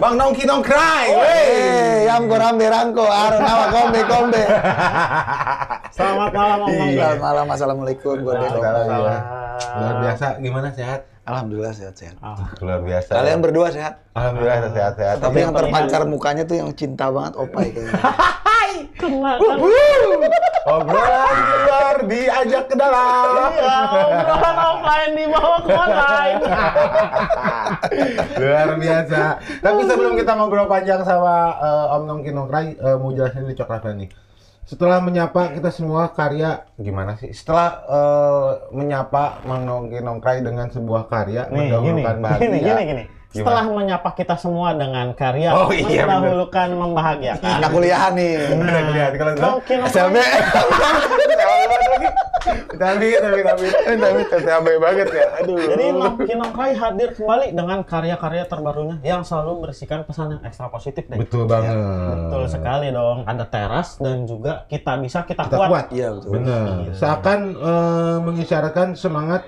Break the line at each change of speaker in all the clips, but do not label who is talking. Bang Nongki Don't Cry.
Oh,
Wey.
Hei, Yamko Rambe Rangko, Aro Nawa Kombe Kombe.
Selamat malam,
Iya.
Om Bang.
Selamat malam, Assalamualaikum. Gue Dek Kombe.
Luar biasa. Gimana sehat?
Alhamdulillah sehat-sehat.
Ah.
Luar biasa.
Kalian berdua sehat?
Alhamdulillah sehat-sehat.
Tapi yang
paling
terpancar mukanya tuh yang cinta banget Opai kayaknya.
Kelar.
Obrolan di luar diajak ke dalam.
Iya.
Ya, obrolan offline dibawa ke online.
Luar biasa. Tapi sebelum kita ngobrol panjang sama eh, Om Nongki Nongkrai, eh, mau jelasin di coklat nih. Setelah menyapa kita semua karya gimana sih? Setelah eh, menyapa Mang Nongki Nongkrai dengan sebuah karya
Nih, gini,
mendahulukan bahagia.
gini, gini, gini.
Gimana?
Setelah menyapa kita semua dengan karya,
Oh, iya, bener.
mendahulukan membahagiakan.
Anak kuliahan nih.
Udah kuliah, ya. kalau enggak,
Nongki Nongkrai.
Sampai
tapi tapi tapi tapi tapi banget ya. Aduh.
Jadi Nongki Nongkrai hadir kembali dengan karya-karya terbarunya yang selalu berisikan pesan yang ekstra positif deh.
Betul banget.
Betul sekali dong. Ada teras dan juga kita bisa kita,
Kita
kuat.
kuat.
Iya betul.
Benar. Seakan eh, mengisyaratkan semangat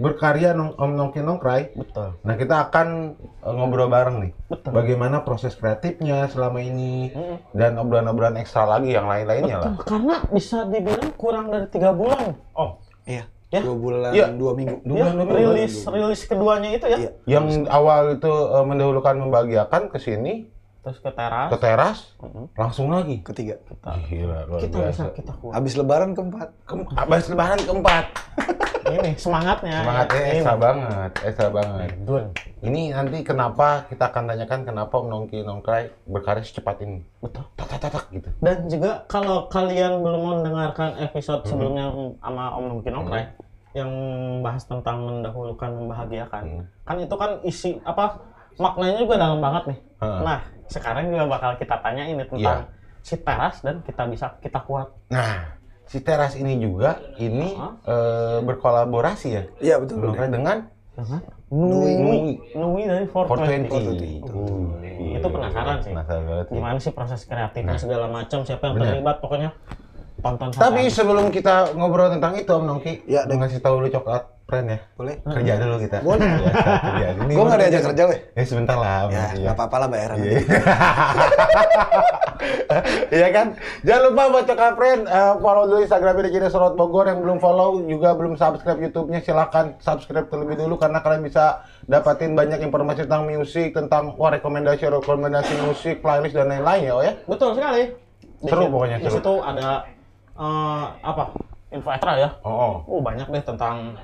berkarya nong Om Nongki Nongkrai.
Betul.
Nah, kita akan eh, ngobrol bareng nih.
Betul.
Bagaimana proses kreatifnya selama ini dan obrolan-obrolan ekstra lagi yang lain-lainnya lah.
Karena bisa dibilang kurang dari tiga bulan. Oh,
Iya.
Ya.
Dua bulan,
Iya.
dua minggu.
ya,
Dua bulan, dua bulan,
rilis rilis keduanya itu ya.
Iya.
Yang awal itu eh, mendahulukan membahagiakan ke sini,
Terus ke
ke
teras.
teras, langsung lagi.
Ketiga.
Gila, luar
Kita bisa
biasa.
kita kuat.
Habis lebaran keempat.
Kem- Abis lebaran keempat.
Ini semangatnya.
Semangatnya
Nah,
eh,
Ini.
ekstra banget, ekstra banget.
Dun.
Ini nanti kenapa kita akan tanyakan kenapa Om Nongki Nongkrai berkarya secepat ini.
Betul.
Tak tak tak, tak gitu.
Dan juga kalau kalian belum mendengarkan episode
Hmm.
sebelumnya sama Om Mungkin Okrai yang bahas tentang mendahulukan membahagiakan,
Hmm.
kan itu kan isi apa maknanya juga dalam banget nih.
Heeh.
Nah sekarang juga bakal kita tanya ini tentang
Iya.
si teras dan kita bisa kita kuat.
Nah, si teras ini juga ini
Hah?
eh, berkolaborasi ya.
Iya betul.
Nongkrai dengan Hmm.
Dengan
Nui.
Nui
Nui dari 420.
420. Uh,
Itu penasaran sih.
Penasaran banget sih.
Gimana sih proses kreatifnya
Nah.
segala macam siapa yang
Bener.
terlibat pokoknya tonton sampai
Tapi sebelum kita ngobrol tentang itu Om Nongki,
Ya,
mau ngasih tahu dulu coklat friend ya.
Boleh?
Kerja dulu kita.
Boleh.
Ya, kerja. Ini
Gue nggak
baru-
diajak kerja weh.
Ya sebentar lah.
Ya,
masih
nggak apa-apa lah bayaran.
Iya. Iya kan? Jangan lupa buat coklat friend, eh, follow dulu Instagramnya di Gini Sorot Bogor yang belum follow juga belum subscribe YouTube-nya silahkan subscribe terlebih dulu karena kalian bisa dapatin banyak informasi tentang musik, tentang wah rekomendasi rekomendasi musik, playlist dan lain-lain ya, oh ya.
Betul sekali.
Seru
situ-
pokoknya,
Di
seru.
situ ada eh, apa? Info ekstra ya.
Oh, oh.
Oh, banyak deh tentang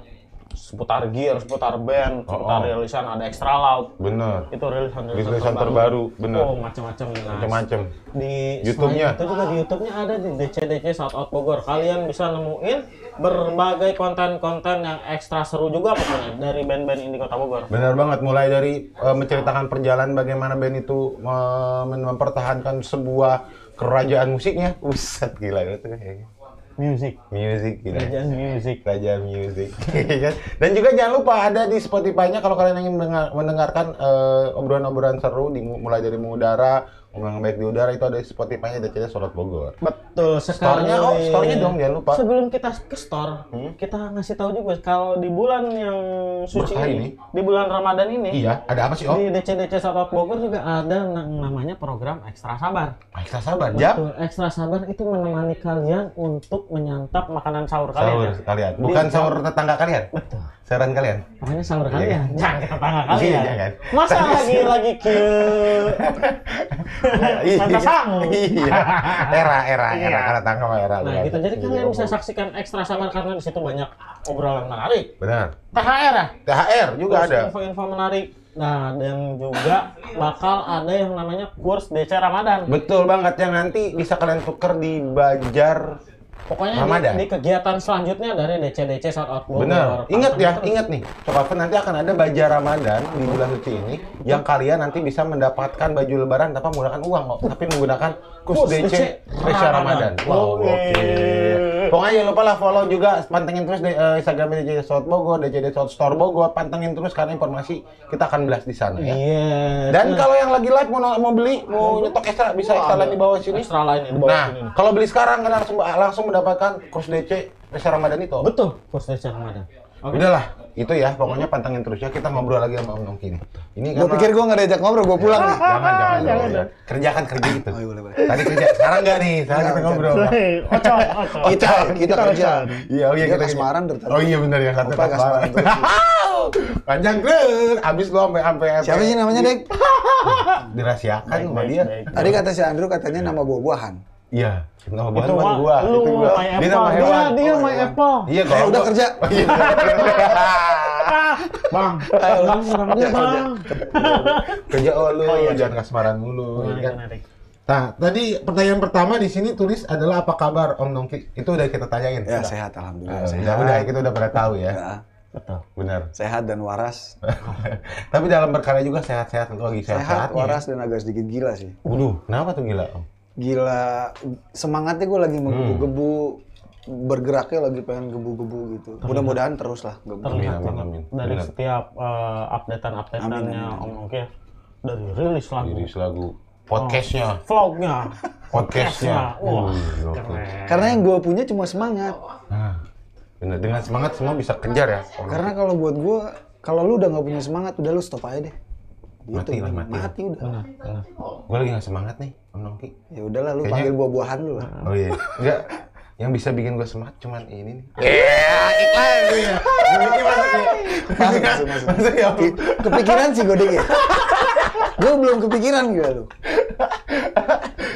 seputar gear, seputar band, seputar
Oh, oh.
rilisan ada extra loud.
bener.
Itu rilisan
Rilisan terbaru, bener.
Oh, macam-macam. Mas.
Macam-macam.
Di
YouTube-nya.
selain Itu juga di YouTube-nya ada di DCDC Shout Out Bogor. Kalian bisa nemuin berbagai konten-konten yang ekstra seru juga pokoknya dari band-band indie Kota Bogor.
Benar banget, mulai dari eh, menceritakan perjalanan bagaimana band itu eh, mem- mempertahankan sebuah kerajaan musiknya. Buset gila itu kayaknya.
Music,
Music gila.
kerjaan music.
Raja Music. Iya kan? Dan juga jangan lupa ada di Spotify-nya kalau kalian ingin mendengar- mendengarkan eh, obrolan-obrolan seru di, mulai dari mengudara, obrolan baik di udara itu ada di Spotify-nya ada cerita Sorot Bogor.
Betul sekali.
Store-nya, oh, store-nya dong, jangan lupa. Hmm?
Sebelum kita ke store, kita ngasih tahu juga kalau di bulan yang suci
Berkah ini.
ini, di bulan Ramadan ini,
Iya, ada apa sih Om?
di DCDC Sabah Bogor juga ada yang namanya program Ekstra Sabar.
Ah, Kita sabar, jam
Betul, Ekstra Sabar itu menemani kalian untuk menyantap makanan sahur kalian.
sahur
ya.
kalian. Bukan sahur tetangga kalian.
Betul.
Saran kalian.
Makanya sahur kalian, jangan ke tetangga
Iya,
kalian.
jangan.
Masa lagi lagi ke Mantap sangu.
Iya. Era, era, era.
Iya.
Karena tangga sama era. ya.
Nah
bukan?
gitu, jadi
Iya.
kalian bisa saksikan Ekstra Sabar karena di situ banyak obrolan menarik.
Benar.
THR ya?
THR juga
Terus
ada.
info-info menarik. Nah, dan juga bakal ada yang namanya kurs DC Ramadan.
Betul banget yang nanti bisa kalian tuker di Bajar
Pokoknya di-
Ramadan.
Di, kegiatan selanjutnya dari DC-DC saat outbound.
Bener. Ingat ya, ingat nih. Coba Fen, nanti akan ada bajar Ramadan di bulan suci ini yang kalian nanti bisa mendapatkan baju lebaran tanpa menggunakan uang kok, tapi menggunakan kus
Kus
DC
DC
spesial Ramadan.
Ramadan.
Wow,
Oke.
gokil. Pokoknya jangan lupa lah follow juga, pantengin terus di eh, Instagram DC South Bogor, DC South Store Bogor, pantengin terus karena informasi kita akan belas di sana ya.
Iya.
Dan kalau yang lagi live mau mau beli, mau nyetok ekstra bisa ekstra lain di bawah sini.
Ekstra lain di bawah sini.
Nah, kalau beli sekarang kalian langsung langsung mendapatkan kurs DC spesial Ramadan itu.
Betul, kurs DC Ramadan. Oke.
Udahlah, itu ya. Pokoknya pantengin terus ya. Kita ngobrol lagi sama Om Nongki nih. Ini
Gue pikir gue nggak diajak ngobrol, gue pulang nih.
jangan, jangan,
Jangan,
jangan,
jangan.
Kerjakan kerja gitu.
Oh, iya, boleh, boleh.
Tadi kerja, sekarang enggak nih. Sekarang kita
Jangan,
ngobrol.
Oco, oco.
Oh, Kita, kita kerja.
Iya, oh iya
Dia
kita
kasmaran dari tadi.
Oh iya benar ya, satu
Opa kasmaran terus.
Panjang terus. Abis lo sampai sampai
Siapa sih namanya,
Iya.
Dek?
Dirahasiakan sama
baik,
dia.
baik.
Tadi kata si Andrew katanya nama buah-buahan.
Iya. Nama bukan
Itu
bukan
mah,
gua.
lu
itu
mau
gua.
my
Dia
apple.
nama
Dia,
hewan.
dia
Oh,
my
hewan.
apple.
Iya,
Eh,
kalau
udah
gua-
kerja.
Iya.
Bang, bang, serang
Ya,
dia, bang.
Kerja oh lu,
iya,
jangan kasmaran
Oh,
mulu. ya kan?
Menarik.
Nah, tadi pertanyaan pertama di sini tulis adalah apa kabar Om Nongki? Itu udah kita tanyain.
Ya
sudah.
sehat, alhamdulillah.
Eh,
sehat.
udah, udah, kita udah pernah tahu ya.
Ya,
Betul. Benar.
sehat dan waras.
Tapi dalam berkarya juga sehat-sehat lu lagi
Sehat,
sehat-sehat. ya?
waras dan agak sedikit gila sih.
Waduh, kenapa tuh gila? Om?
Gila semangatnya gue lagi menggebu-gebu bergeraknya lagi pengen gebu-gebu gitu. Mudah-mudahan terus lah gebu.
Terlihat
amin,
banget
amin.
dari
Benar.
setiap eh, updatean-updateannya Om Nongki ya. Dari rilis lagu,
Rilis lagu podcastnya,
vlognya,
podcastnya.
Oh, Wah,
Wih, oke.
keren.
Karena yang gue punya cuma semangat.
Nah, benar. Dengan semangat semua bisa kejar ya. Om.
Karena kalau buat gue, kalau lu udah nggak punya semangat, udah lu stop aja deh. Gitu.
Mati lah, mati.
udah.
Gue lagi gak semangat nih, Om Nongki.
Ya udahlah, lu
Kayaknya-
panggil buah-buahan lu lah.
Oh iya. Enggak. Yang bisa bikin gue semangat cuman ini nih. Iya, iklan. Iya. Ini masuk ya.
Masuk, masuk, masuk.
Masuk ya, Om.
Ki- kepikiran sih gue deh. gue belum kepikiran gue lu.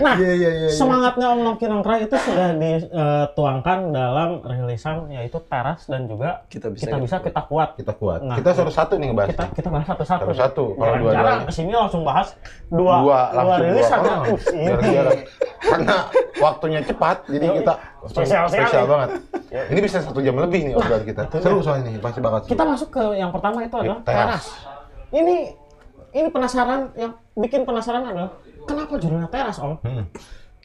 Nah,
Iya, iya, iya, iya.
semangatnya Om Nongki Nongkrai itu sudah dituangkan dalam rilisan yaitu teras dan juga
Kita bisa,
kita,
kita
bisa kita kuat.
Kita kuat.
Nah,
kita suruh satu nih ngebahas.
kita kita bahas satu-satu.
Satu-satu, kalau
Jangan
dua-duanya.
jarang kesini langsung bahas dua
dua,
dua
langsung
rilisan. ya. iya.
dua orang.
Ih, ini.
Biar jarak. Karena waktunya cepat, jadi
Yoi.
kita
Spesial sekali.
banget. Ini bisa satu jam lebih nih obrolan kita. Seru soalnya ini, pasti bakal seru.
Kita masuk ke yang pertama itu adalah
Teras.
teras. Ini ini penasaran yang bikin penasaran adalah kenapa judulnya teras om?
Hmm.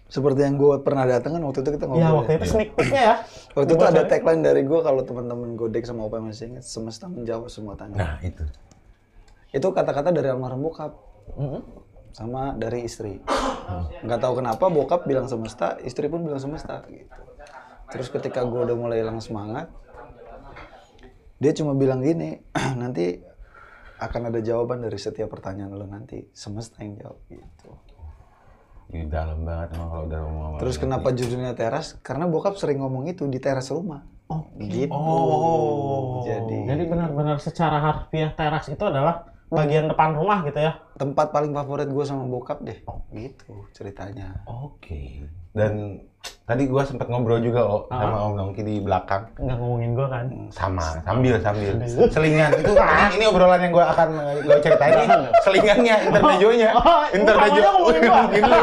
Seperti yang gue pernah datang kan waktu itu kita ngobrol.
Ya
iya,
ya.
waktu itu sneak peeknya ya.
Waktu itu ada
Bocorin.
tagline dari gue kalau teman-teman Godek sama Opa masih ingat semesta menjawab semua tanya.
Nah, itu.
Itu kata-kata dari almarhum bokap
Mm-mm.
sama dari istri. Nggak tahu kenapa bokap bilang semesta, istri pun bilang semesta gitu. Terus ketika gue udah mulai hilang semangat, dia cuma bilang gini, nanti akan ada jawaban dari setiap pertanyaan lo nanti semesta yang jawab gitu.
Ini dalam banget emang kalau udah ngomong.
Terus kenapa judulnya teras? Karena bokap sering ngomong itu di teras rumah. Oh, gitu.
Oh.
Jadi,
Jadi benar-benar secara harfiah teras itu adalah bagian depan rumah gitu ya.
tempat paling favorit gue sama bokap deh. gitu ceritanya.
Oke. Dan tadi gua sempat ngobrol juga oh,
Ah.
sama Om Nongki di belakang
Nggak ngomongin gua kan.
sama sambil sambil selingan itu ah, ini obrolan yang gua akan eh, gua ceritain ini selingannya intermezzonya intermezzo
Namanya ngomongin gua.
Ngomongin lu.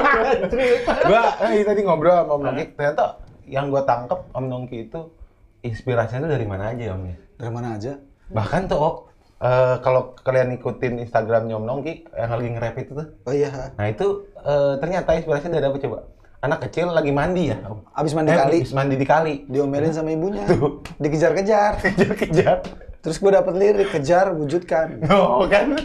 gua eh, tadi ngobrol sama Om Nongki ternyata yang gua tangkep Om Nongki itu inspirasinya tuh dari mana aja Om ya
Dari mana aja?
bahkan tuh oh, eh, kalau kalian ikutin Instagramnya Om Nongki yang lagi nge-rap itu tuh
Oh iya,
Nah itu eh, ternyata inspirasinya dari apa coba? Anak kecil lagi mandi ya? Om?
abis mandi
Eh,
kali.
habis mandi di kali.
diomelin sama ibunya dikejar-kejar
Kejar-kejar.
terus gue dapet lirik kejar wujudkan
No, kan?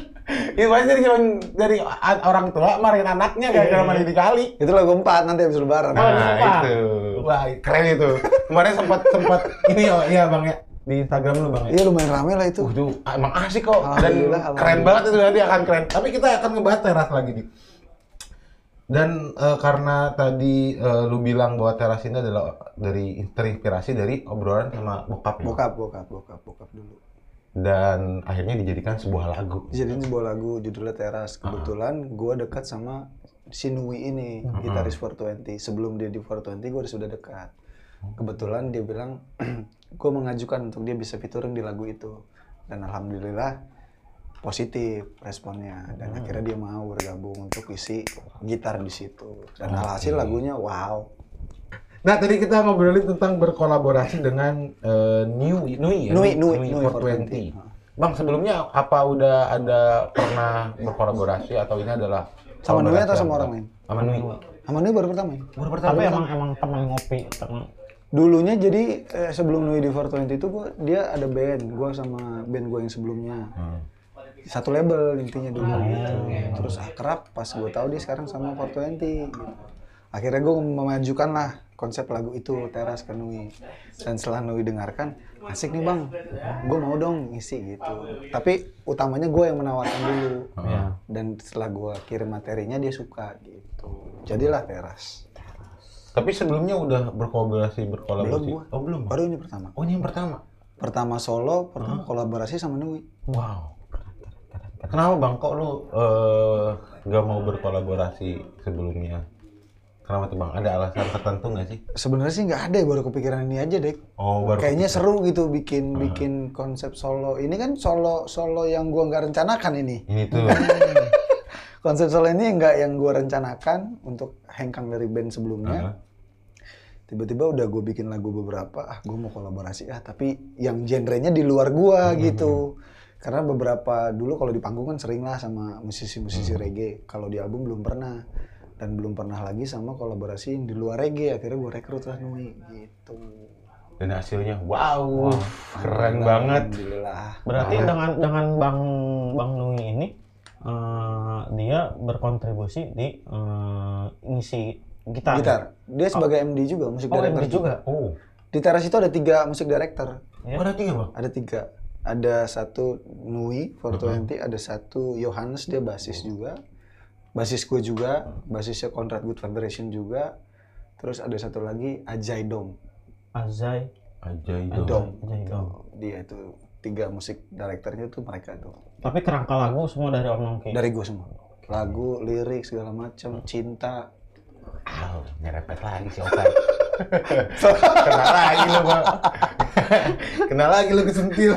Itu pasti dari, cuman- dari a- orang tua marahin anaknya gara-gara mandi di kali.
itu lagu empat nanti habis lebaran
Nah,
lupa.
itu. Wah, keren itu. Kemarin sempat sempat ini oh, iya Bang ya. Di Instagram lu Bang ya.
iya lumayan rame lah itu
Uh, itu emang asik kok
Alhamdulillah,
dan keren
alhamdulillah.
banget itu nanti akan keren. Tapi kita akan ngebahas teras lagi nih. Dan eh, karena tadi eh, lu bilang bahwa teras ini adalah dari terinspirasi dari obrolan sama bokap, ya?
bokap bokap bokap bokap dulu
dan akhirnya dijadikan sebuah lagu.
dijadiin sebuah lagu judulnya teras kebetulan gue dekat sama Sinui ini gitaris 420 sebelum dia di 420 gue sudah dekat kebetulan dia bilang gue mengajukan untuk dia bisa featuring di lagu itu dan alhamdulillah positif responnya dan akhirnya dia mau bergabung untuk isi gitar di situ dan alhasil lagunya wow
Nah tadi kita ngobrolin tentang berkolaborasi dengan eh, New Nui ya?
Nui, Nui, Nui
420. Bang sebelumnya apa udah ada pernah berkolaborasi atau ini adalah
Sama Nui atau
kolaborasi
sama
yang-
orang ya? lain?
Sama Nui.
sama Nui baru pertama ya?
Baru
Tapi emang emang teman ngopi, teman
dulunya jadi eh, sebelum Nui di 420 itu gua dia ada band gue sama band gue yang sebelumnya
Hmm.
satu label intinya dulu gitu. terus akrab pas gue tahu dia sekarang sama 420 gitu. akhirnya gue memajukan lah konsep lagu itu teras ke Nui dan setelah Nui dengarkan asik nih bang gue mau dong ngisi gitu tapi utamanya gue yang menawarkan dulu dan setelah gue kirim materinya dia suka gitu jadilah teras
Tapi sebelumnya udah berkolaborasi
belum
berkolaborasi.
gue
Oh belum.
baru ini pertama
Oh ini yang pertama.
pertama solo pertama kolaborasi sama Nui
Wow. Kenapa bang kok lu eh, nggak mau berkolaborasi sebelumnya? Kenapa tuh bang? Ada alasan tertentu nggak sih?
sebenarnya sih nggak ada ya baru kepikiran ini aja deh
Oh baru.
kayaknya seru gitu bikin bikin konsep solo ini kan solo solo yang gua nggak rencanakan ini
Ini tuh.
konsep solo ini nggak yang gua rencanakan untuk hengkang dari band sebelumnya tiba-tiba udah gue bikin lagu beberapa ah gue mau kolaborasi ah tapi yang genrenya di luar gua gitu karena beberapa dulu kalau di panggung kan sering lah sama musisi-musisi reggae kalau di album belum pernah dan belum pernah lagi sama kolaborasi yang di luar reggae akhirnya gue rekrut lah Nui gitu
Dan hasilnya wow, keren banget.
Alhamdulillah.
Berarti dengan dengan Bang Bang Nui ini eh, dia berkontribusi di eh, ngisi gitar.
gitar. Dia sebagai MD juga, musik
Oh,
director
MD juga.
Oh.
Di teras itu ada tiga musik director.
Ya.
Oh, ada tiga bang.
Ada tiga. Ada satu Nui 420, ada satu Yohanes dia basis juga. Basis gue juga, basisnya Conrad Good Vibration juga. Terus ada satu lagi Ajay Dom.
Azai.
Aja itu.
Dom.
Ajay Dom.
Dia itu tiga musik directornya tuh mereka tuh.
Tapi kerangka lagu semua dari Om Nongki.
Dari gue semua. Lagu, lirik segala macam, cinta.
Ah, nyerempet lagi si Okan. Kena lagi lu, Bang. Kena lagi lu kesentil.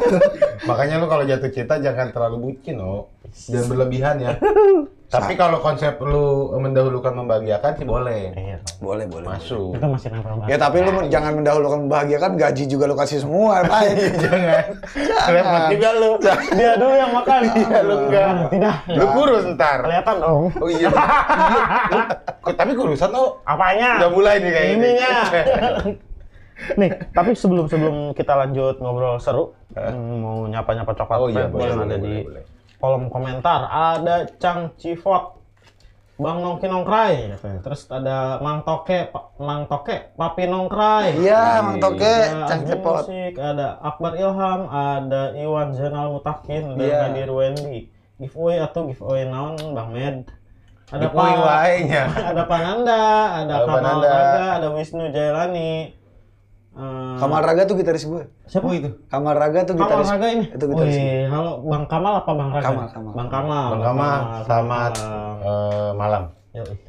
Makanya lu kalau jatuh cinta jangan terlalu bucin, oh. Jangan berlebihan ya. Tapi kalau konsep lu mendahulukan membahagiakan sih boleh.
Iya.
Boleh, boleh.
Masuk.
Itu masih nempel banget.
Ya
Iya.
tapi lu jangan mendahulukan bahagia kan gaji juga lu kasih semua, Pak.
Jangan. Nah. Repot juga lu.
Dia dulu yang makan. Nah,
Iya, lu enggak.
Tidak.
Lu kurus ntar.
Kelihatan Om.
Oh iya. Kok- Tapi kurusan, oh.
Apanya?
Udah mulai nih kayaknya.
Ininya. Nih, tapi sebelum sebelum kita lanjut ngobrol seru, mm, mau nyapa-nyapa coklat
Eh. Oh iya,
Friend
boleh,
yang
boleh,
ada di
boleh, boleh.
kolom komentar ada Cang Civot, Bang Nongki Nongkrai, katanya. terus ada Mang Toke, Pa- Mang Toke, Papi Nongkrai.
Iya, Mang Toke,
Ada
Cang
Azmi
Cepot.
Musik, ada Akbar Ilham, ada Iwan Zainal Mutakin, dan
Iya.
Hadir Wendy. Giveaway atau giveaway naon Bang Med. Ada Pak-
Giveaway-nya.
ada Pananda, ada
Halo,
Kamal
Pananda.
Raga, ada Wisnu Jailani. Eh,
Kamal Oh, Raga tuh gitaris gue.
siapa itu?
Kamal Raga tuh
Kamal
gitaris.
Raga ini.
Itu gitaris. gue.
Wih, halo Bang Kamal apa Bang Raga?
Kamal, Kamal.
Bang Kamal.
Bang Kama, selamat
malam.
eh, malam.
Yoi. Nah,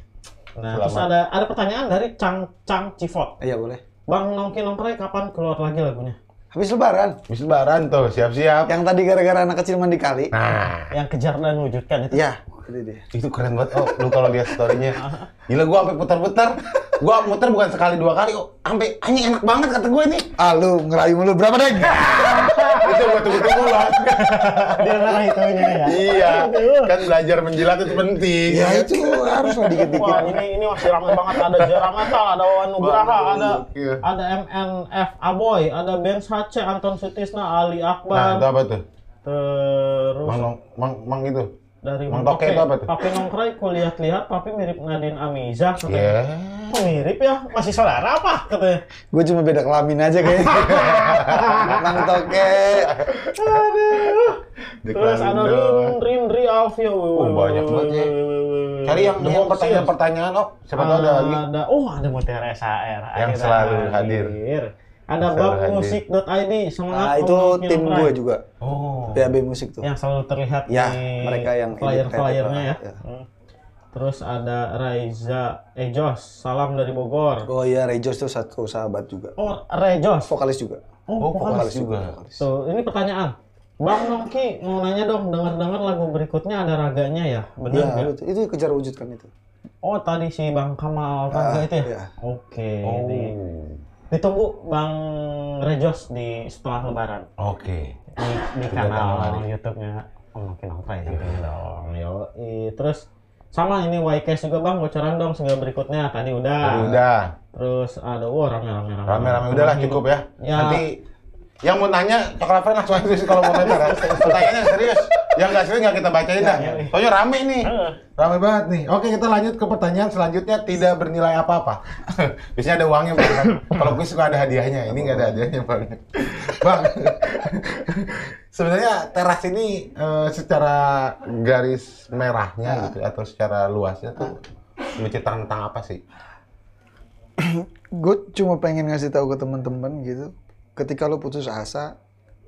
Selamat.
terus ada ada pertanyaan dari Cang Cang Civot.
Iya boleh.
Bang Nongki Nongkrai kapan keluar lagi lagunya?
Habis lebaran.
Habis lebaran tuh, siap-siap.
Yang tadi gara-gara anak kecil mandi kali.
Nah,
Yang kejar dan wujudkan itu.
Iya, itu dia.
itu keren banget. Oh, lu kalau lihat story-nya. Gila gua sampai putar-putar. Gua muter bukan sekali dua kali, oh. Sampai anjing enak banget kata gua ini.
Ah lu ngerayu mulu berapa deh?
itu gua tunggu-tunggu lah.
Dia ngarah itunya ya.
iya, kan belajar menjilat itu penting.
Iya.
ya itu harus lah dikit-dikit.
Wah, ini ini masih ramai banget ada Jara Metal, ada Wawan Nugraha,
Waduh,
ada
iya.
ada MNF Aboy, ada Ben Sace, Anton Sutisna, Ali
Nah, itu
Akbar.
apa tuh?
terus
Mang, mang, mang, mang itu.
dari
Mang Toke itu apa tuh?
Papi nongkrong kulihat lihat Papi mirip Nadine Amizah katanya.
Ya.
Kok mirip ya? Masih saudara apa katanya?
Gue cuma beda kelamin aja kayaknya. Mang Toke.
Aduh. Terus
Deklarin
ada
doang.
Rin ya. Rindri Alvio.
Oh, banyak banget ya. Cari yang yang pertanyaan-pertanyaan, oh. Siapa tahu ada lagi.
Ada, oh ada Mutiara SAR.
Yang
akhirnya
selalu hadir.
Ada
Yang selalu
babmusik.id semangat.
Ah itu
Om Nongki
tim
Nongkrong.
gue juga.
Oh.
PAB musik tuh.
yang selalu terlihat
Gitu. Ya,
di
mereka yang edited
flyer-flyernya
itu,
ya.
ya.
Hmm. Terus ada Raiza Ejos, salam dari Bogor.
Oh iya, Rejos tuh satu sahabat juga.
Oh, Rejos.
Vokalis juga.
Oh,
Vokalis
vokalis juga.
vokalis.
Tuh, ini pertanyaan. Bang Nongki, mau nanya dong, dengar-dengar lagu berikutnya ada raganya ya? Benar
Iya,
nggak?
itu, itu kejar wujudkan itu.
Oh, tadi si Bang Kamal
Ah,
Raga itu ya?
iya.
Oke.
Oh.
di- Ditunggu Bang Rejos di setelah lebaran.
Oke.
di, di
Kegiatan
kanal
lari.
YouTube-nya oh, makin apa ya tentunya dong yo terus sama ini YKS juga bang bocoran dong single berikutnya tadi udah
Udah.
terus ada wah rame rame rame
Rame-rame udahlah cukup ya.
Ya.
Nanti yang mau nanya, Coklat Friend langsung aja sih kalau mau nanya. ya. Pertanyaannya serius. Yang nggak sering nggak kita bacain dah. Soalnya rame nih.
Ya, Heeh.
Rame banget nih. Oke, kita lanjut ke pertanyaan selanjutnya tidak bernilai apa-apa. Biasanya ada uangnya, Bang. kan? Kalau gue suka ada hadiahnya. Ini nggak ada hadiahnya, Bang. Bang. Sebenarnya teras ini eh, secara garis
Iya.
merahnya gitu atau secara luasnya tuh
Ah.
menceritakan tentang apa sih?
gue cuma pengen ngasih tahu ke teman-teman gitu ketika lo putus asa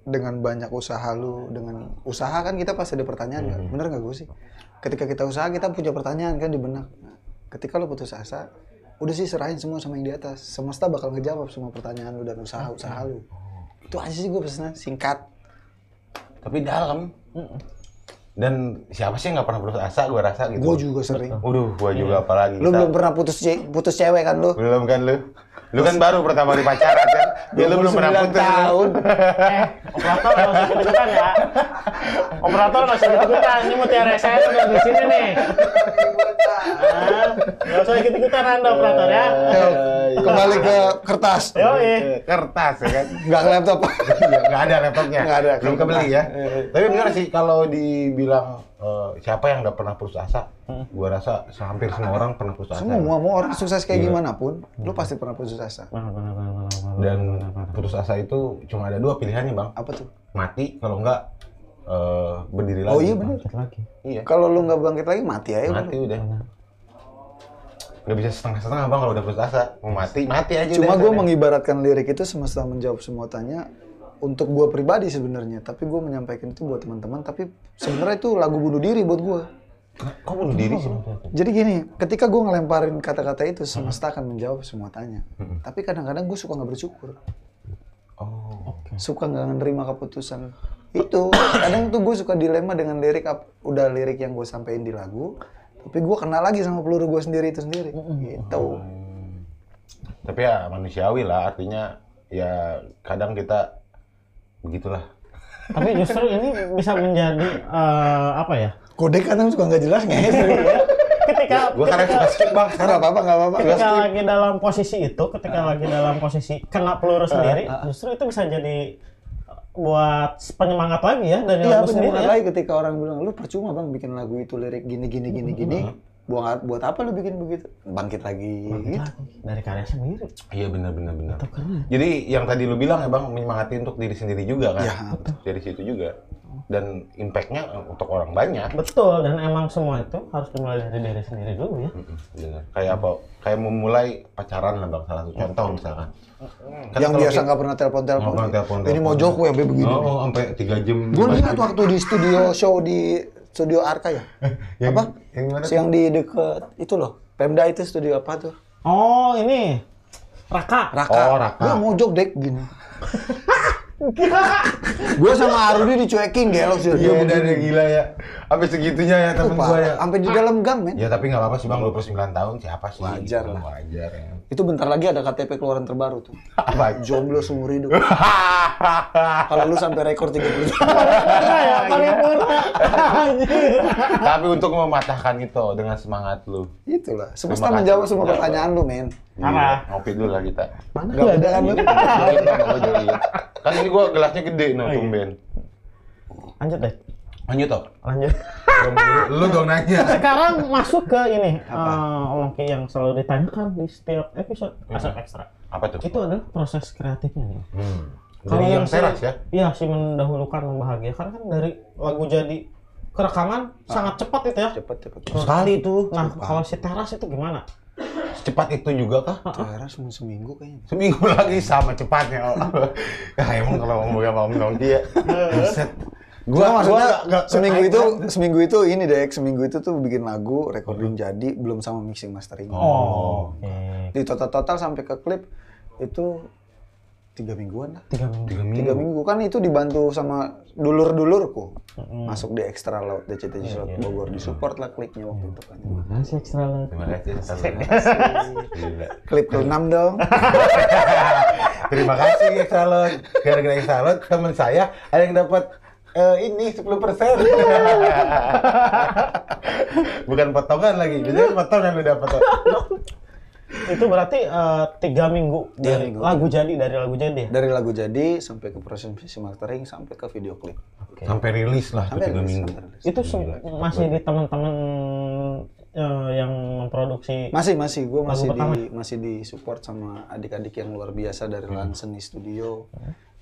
dengan banyak usaha lu dengan usaha kan kita pasti ada pertanyaan
Mm-hmm.
kan bener nggak gue sih ketika kita usaha kita punya pertanyaan kan di benak Nah, ketika lo putus asa udah sih serahin semua sama yang di atas semesta bakal ngejawab semua pertanyaan lu dan usaha usaha lu itu aja sih gue pesennya singkat
Tapi dalam. Dan siapa sih yang nggak pernah putus asa? Gue rasa gitu.
gue juga sering
Waduh, gua juga apalagi.
lu
Kita-
belum pernah putus ce- putus cewek kan lu
Belum kan lu? Lu kan baru pertama kali pacaran kan? Ya lu belum pernah
29
putus.
tahun
Eh, operator nggak usah deg-degan ya. Operator nggak usah deg-degan. Ini mutiara saya sudah di sini nih. Ah, Nggak usah ikut-ikutan anda operator ya.
Iya,
Ayo,
Eh.
kembali ke kertas
Yoi.
Kertas ya kan?
nggak ke laptop
Iya, nggak ada laptopnya.
Nggak ada,
Belum
kertas. Eh,
kebeli ya. Tapi benar sih kalau dibilang eh, siapa yang nggak pernah putus asa, gua rasa hampir semua orang pernah putus asa.
Semua mau orang sukses kayak gimana pun, lu pasti pernah putus asa.
Dan putus asa itu cuma ada dua pilihannya, Bang.
Apa tuh?
Mati kalau nggak eh, berdiri lagi.
Oh iya bener.
lagi.
Iya.
Kalau lu nggak bangkit lagi mati aja. Eh, udah.
Mati udah. Nggak bisa setengah-setengah, Bang, kalau udah putus asa. Mau mati, mati aja
Cuma
udah,
gue
sana.
mengibaratkan lirik itu semesta menjawab semua tanya untuk gue pribadi sebenarnya, tapi gue menyampaikan itu buat teman-teman. Tapi sebenarnya itu lagu bunuh diri buat gue.
Kok bunuh diri sih? Bang?
Jadi gini, ketika gue ngelemparin kata-kata itu, semesta akan menjawab semua tanya. Tapi kadang-kadang gue suka nggak bersyukur.
Oh.
suka nggak nerima keputusan itu kadang tuh gue suka dilema dengan lirik ap- udah lirik yang gue sampein di lagu tapi gue kena lagi sama peluru gue sendiri itu sendiri gitu
Tapi ya manusiawi lah, artinya ya kadang kita begitulah.
Tapi justru ini bisa menjadi eh, apa ya?
kode kadang suka nggak jelas nggak Iya,
Ketika
Gue kadang suka skip kan bang,
nggak apa-apa nggak apa-apa nggak
ketika
apa-apa.
lagi dalam posisi itu, ketika lagi dalam posisi kena peluru sendiri, justru itu bisa jadi eh, buat penyemangat lagi ya dari
iya
lagu sendiri.
penyemangat
ya.
lagi ketika orang bilang lu percuma bang bikin lagu itu lirik gini gini gini gini buat buat apa lu bikin begitu bangkit lagi gitu.
Dari karya sendiri.
Iya benar benar benar. Jadi yang tadi lu bilang ya bang menyemangati untuk diri sendiri juga kan?
Iya,
Dari situ juga. Dan impactnya untuk orang banyak.
Betul, dan emang semua itu harus dimulai dari diri sendiri dulu ya.
Mm-mm, benar. Kayak apa? Kayak memulai pacaran lah bang salah satu contoh misalkan. Kan
yang
kalau
biasa
kita-
nggak pernah telepon telepon
Nggak pernah telepon-telepon.
ini mau joko ya be begini
Oh, oh, sampai tiga jam.
Gue lihat waktu di studio show di studio Arka ya.
Yang-
apa?
yang mana
Si yang di deket itu loh. Pemda itu studio apa tuh?
Oh, ini Raka.
Raka.
Oh, Raka.
Gua mojok dek gini. gue sama Arudi dicuekin gelok sih.
Iya udah udah gila ya. Sampai segitunya ya temen gua ya.
Sampai di dalam gang men.
Ya tapi nggak apa-apa sih bang, 29 tahun siapa sih?
Wajar
Gitu,
lah.
Wajar ya.
Itu bentar lagi ada KTP keluaran terbaru tuh.
Apa?
Jomblo seumur hidup. Kalau lu sampai rekor 30
ya, paripurna. Anjir.
tapi untuk mematahkan itu dengan semangat lu.
Itulah. Semesta
Terima kasih.
menjawab semua pertanyaan lu men.
Gila,
Apa?
Ngopi dulu lah kita.
Mana? Gak ada kan
gitu?
lu?
Jodoh sama gua jadi. kan ini gua gelasnya gede no tumben.
Lanjut deh.
Lanjut toh.
Lanjut.
Lu dong nanya.
Sekarang masuk ke ini eh, Oke yang selalu ditanyakan di setiap episode aset ekstra.
Apa tuh?
Itu adalah proses kreatifnya. nih.
Hmm. Dari yang
si-
teras ya.
Iya, si mendahulukan membahagiakan kan dari lagu jadi ke rekaman sangat cepat itu ya.
Cepet cepet.
Sekali itu.
Nah, kalau si teras itu gimana?
Secepat itu juga kah?
Teras cuma seminggu kayaknya.
Seminggu lagi sama cepatnya. ya emang kalau ngomong sama Om Dong dia. Buset.
Gua maksudnya
nggak- nggak-
seminggu itu seminggu itu ini deh seminggu itu tuh bikin lagu recording jadi belum sama mixing mastering.
Oh.
Oke.
Di total total sampai ke klip itu tiga mingguan lah.
Tiga minggu.
Tiga
Tiga
minggu.
minggu kan itu dibantu sama dulur-dulurku
Hmm.
masuk di Extra Loud DCT di
Iya,
Slot Bogor disupport lah klipnya waktu itu kan.
Masih ekstra lagi.
Terima kasih. Gila.
Klip ke enam dong.
Terima kasih Salon. Gara-gara Salon teman saya ada yang dapat eh, ini 10%. Bukan potongan lagi. Biasanya potongan lu dapat.
itu berarti eh, tiga minggu
Tiga
dari
minggu.
lagu jadi dari lagu jadi ya?
Dari lagu jadi sampai ke proses mastering sampai ke video klip.
Sampai rilis lah itu
Sampai
tiga
rilis,
minggu.
sampai rilis.
itu sem- masih di teman-teman eh, yang memproduksi
Masih masih gue masih
pertama.
di masih di support sama adik-adik yang luar biasa dari Lan Seni Studio,